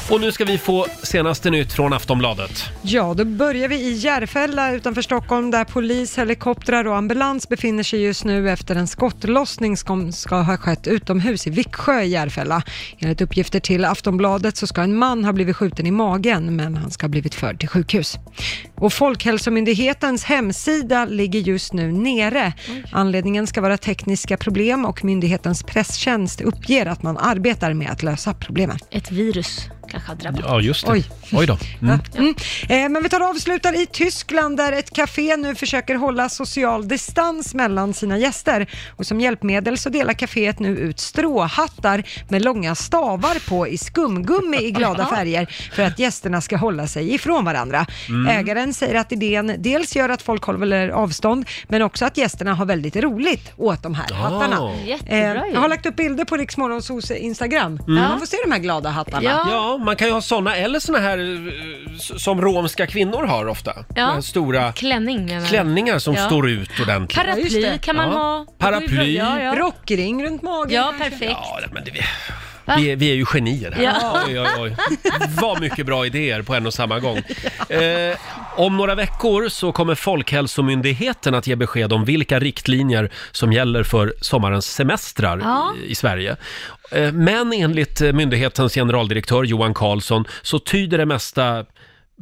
Och nu ska vi få senaste nytt från Aftonbladet. Ja, då börjar vi i Järfälla utanför Stockholm där polis, helikoptrar och ambulans befinner sig just nu efter en skottlossning som ska ha skett utomhus i Viksjö i Järfälla. Enligt uppgifter till Aftonbladet så ska en man ha blivit skjuten i magen men han ska ha blivit förd till sjukhus. Och Folkhälsomyndighetens hemsida ligger just nu nere. Anledningen ska vara tekniska problem och myndighetens presstjänst uppger att man arbetar med att lösa problemen. Ett virus kanske har drabbat. Ja, just det. Oj. Oj då. Mm. Mm. Eh, men vi tar och avslutar i Tyskland där ett café nu försöker hålla social distans mellan sina gäster. Och som hjälpmedel så delar caféet nu ut stråhattar med långa stavar på i skumgummi i glada färger för att gästerna ska hålla sig ifrån varandra. Mm. Ägaren säger att idén dels gör att folk håller avstånd men också att gästerna har väldigt roligt åt de här hattarna. Eh, Jättebra ju. jag har lagt upp bilder på Rix Morgonzos Instagram. Mm. Man får se de här glada hattarna. Ja. man kan ju ha såna eller såna här eh, s- som romska kvinnor har ofta. Ja. De här stora Klänning menar jag. klänningar som Ja. står ut ordentligt. Paraply Ja, just det. kan man ha. Paraply. Ja, ja. Rockring runt magen Ja, kanske. perfekt. Ja, men det, Va? Vi är, vi är ju genier här. Ja. Oj, oj, oj. Vad mycket bra idéer på en och samma gång. Eh, om några veckor så kommer Folkhälsomyndigheten att ge besked om vilka riktlinjer som gäller för sommarens semestrar Ja. i, i Sverige. Eh, men enligt eh, myndighetens generaldirektör Johan Carlsson så tyder det mesta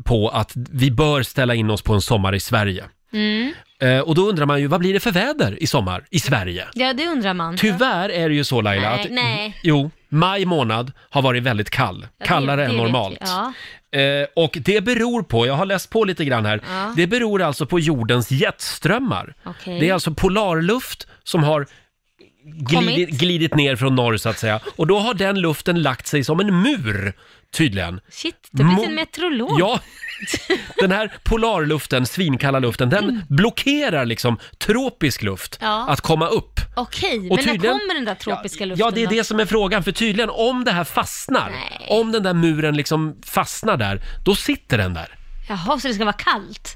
på att vi bör ställa in oss på en sommar i Sverige. Mm. Eh, och då undrar man ju, vad blir det för väder i sommar i Sverige? Ja, det undrar man. Tyvärr är det ju så Laila Nej, att nej. Jo, maj månad har varit väldigt kall. Ja, det- Kallare det än vet normalt. vi. Ja. Eh, och det beror på, jag har läst på lite grann här, Ja. det beror alltså på jordens jetströmmar. Okej. Det är alltså polarluft som har glidit, Kommit. glidit ner från norr så att säga. Och då har den luften lagt sig som en mur, tydligen. Shit, du har blivit Mo- en meteorolog. Ja, den här polarluften, svinkalla luften, den blockerar liksom tropisk luft Mm. Ja. att komma upp. Okej, men Och när tydligen- kommer den där tropiska luften Ja, det är då? det som är frågan, för tydligen om det här fastnar, om den där muren liksom fastnar där, då sitter den där. Jaha, så det ska vara kallt?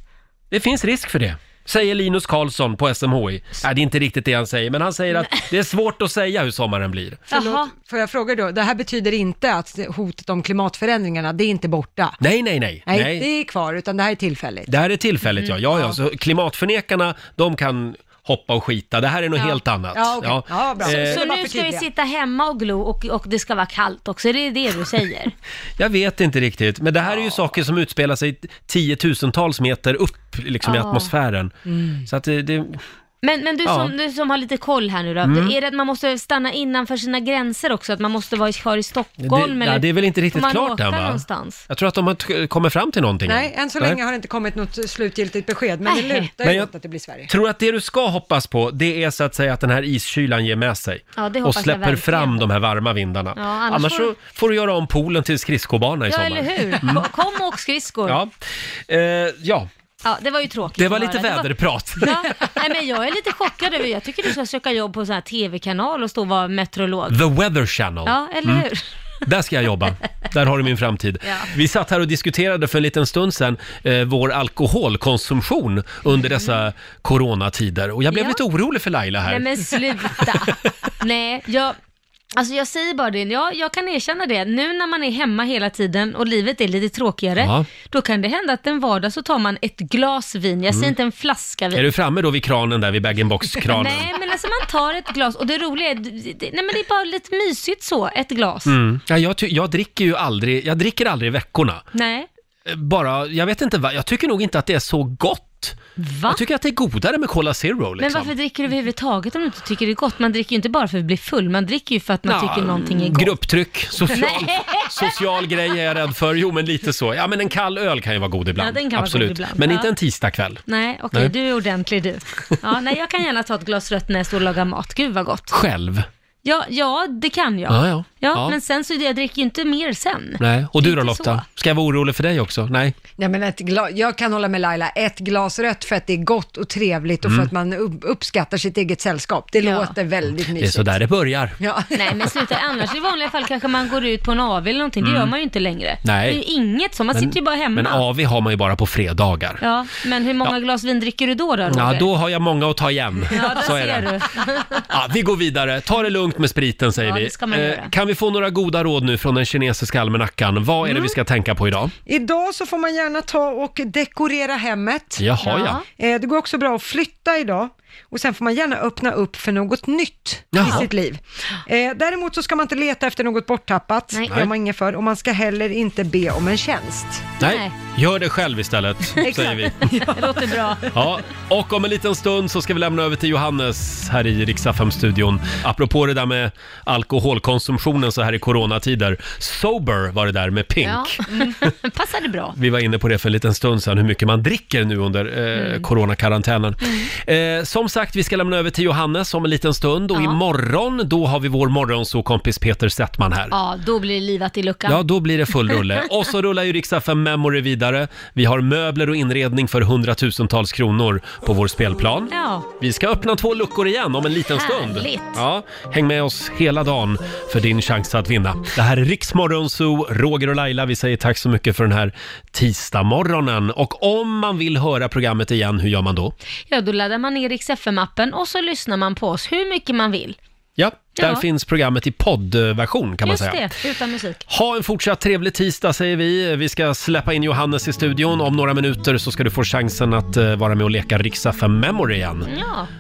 Det finns risk för det. Säger Linus Karlsson på SMHI. Nej, det är inte riktigt det han säger, men han säger att det är svårt att säga hur sommaren blir. Förlåt, får jag fråga då, det här betyder inte att hotet om klimatförändringarna, det är inte borta? Nej, nej, nej. Nej, nej. det är kvar, utan det här är tillfälligt. Det här är tillfälligt, ja. Ja, ja. Så klimatförnekarna, de kan hoppa och skita. Det här är något Ja. helt annat. Ja, okej. Ja, bra. Eh, Så, så nu ska vi sitta hemma och glo och, och det ska vara kallt också, är det det du säger? Jag vet inte riktigt, men det här är ju saker som utspelar sig tiotusentals meter upp liksom, i Ja. atmosfären. Så att det, det... Men, men du, Ja. som, du som har lite koll här nu då, Mm. är det att man måste stanna innanför sina gränser också? Att man måste vara kvar i Stockholm? Det, eller ja, det är väl inte får riktigt man klart åka än va? någonstans? Jag tror att de har t- kommit fram till någonting. Nej, än så länge har det inte kommit något slutgiltigt besked, men det Nej. lutar Men ju jag- åt att det blir Sverige. tror att det du ska hoppas på, det är så att säga att den här iskylan ger med sig. Ja, det och hoppas jag släpper verkligen. fram de här varma vindarna. Ja, annars får får... du- Så får du göra om poolen till skridskobana i Ja, sommar. eller hur? Mm. Kom och åk skridskor. Ja. Ja. Eh, ja, det var ju tråkigt det var att lite höra. väderprat. Ja, nej, men jag är lite chockad över, jag tycker du ska söka jobb på en sån här tv-kanal och stå och vara meteorolog. The Weather Channel. Ja, eller Mm. hur? Där ska jag jobba. Där har du min framtid. Ja. Vi satt här och diskuterade för en liten stund sedan eh, vår alkoholkonsumtion under dessa coronatider. Och jag blev Mm. Ja. lite orolig för Laila här. Nej men sluta. Nej, jag, alltså jag säger bara det, jag, jag kan erkänna det. Nu när man är hemma hela tiden och livet är lite tråkigare, Ja. då kan det hända att en vardag så tar man ett glas vin. Jag säger Mm. inte en flaska vin. Är du framme då vid kranen där, vid bag-in-box-kranen? Nej, men alltså man tar ett glas och det roliga är, det, det, nej men det är bara lite mysigt så, ett glas. Mm. Ja, jag, ty- jag dricker ju aldrig, jag dricker aldrig i veckorna. Nej. Eh, Bara, jag vet inte vad, jag tycker nog inte att det är så gott. Va? Jag tycker att det är godare med Cola Zero liksom. Men varför dricker du överhuvudtaget om du inte tycker det är gott? Man dricker ju inte bara för att bli full, man dricker ju för att man Ja, Mm. tycker någonting är gott. Grupptryck, social, Nej. social grej är jag rädd för. Jo, men lite så. Ja, men en kall öl kan ju vara god ibland. Ja, den kan vara Absolut. god ibland. Men Ja. inte en tisdagkväll. Nej, okej, Nej. du är ordentlig du. Ja, nej, jag kan gärna ta ett glas rött när jag står och lagar mat. Gud vad gott. Själv. Ja, ja det kan jag. Ja, ja. Ja. men sen så, jag dricker ju inte mer sen. Nej. Och du då Inte så. Lotta? Ska jag vara orolig för dig också? Nej. Nej, men ett gla- jag kan hålla med Laila, ett glas rött för att det är gott och trevligt och Mm. för att man upp- uppskattar sitt eget sällskap. Det låter väldigt Det är mysigt. så där det börjar. Ja. Nej, men sluta. Annars i vanliga fall kanske man går ut på en AW eller någonting. Det Mm. gör man ju inte längre. Nej. Det är ju inget så. Man sitter ju bara hemma. Men AV har man ju bara på fredagar. Ja, men hur många Ja. glas vin dricker du då, då Ja, Roger? då har jag många att ta igen. Ja, där Så är ser det. du. Ja, vi går vidare. Ta det lugnt med spriten säger Ja, vi. Eh, det ska man göra. kan vi få några goda råd nu från den kinesiska almanackan? Vad är det vi ska tänka på idag? Idag så får man gärna ta och dekorera hemmet. Jaha, ja. Eh, Det går också bra att flytta idag. Och sen får man gärna öppna upp för något nytt Jaha. i sitt liv. Eh, Däremot så ska man inte leta efter något borttappat. Nej. Det gör man inget för. Och man ska heller inte be om en tjänst. Nej, gör det själv istället, Exakt. säger vi. Det låter bra. Ja, och om en liten stund så ska vi lämna över till Johannes här i riksdagen studion Apropå det där med alkoholkonsumtionen så här i coronatider. Sober var det där med Pink. Ja, mm. passade bra. Vi var inne på det för en liten stund sedan, hur mycket man dricker nu under eh, Mm. coronakarantänen. Eh, som sagt, vi ska lämna över till Johannes om en liten stund och Ja. imorgon då har vi vår morgonsokompis Peter Settman här. Ja, då blir det livat i luckan. Ja, då blir det full rulle. Och så rullar ju Rix FM Memory vidare. Vi har möbler och inredning för hundratusentals kronor på vår spelplan. Ja. Vi ska öppna två luckor igen om en liten stund. Härligt. Ja, häng med oss hela dagen för din chans att vinna. Det här är Riksmorgon Zoo, Roger och Laila. Vi säger tack så mycket för den här tisdagmorgonen. Och om man vill höra programmet igen, hur gör man då? Ja, då laddar man ner Rix FM-appen och så lyssnar man på oss hur mycket man vill. Ja, där Ja. finns programmet i poddversion kan man Just säga. det, utan musik. Ha en fortsatt trevlig tisdag säger vi. Vi ska släppa in Johannes i studion. Om några minuter så ska du få chansen att eh, vara med och leka Riksa för Memory igen. Ja.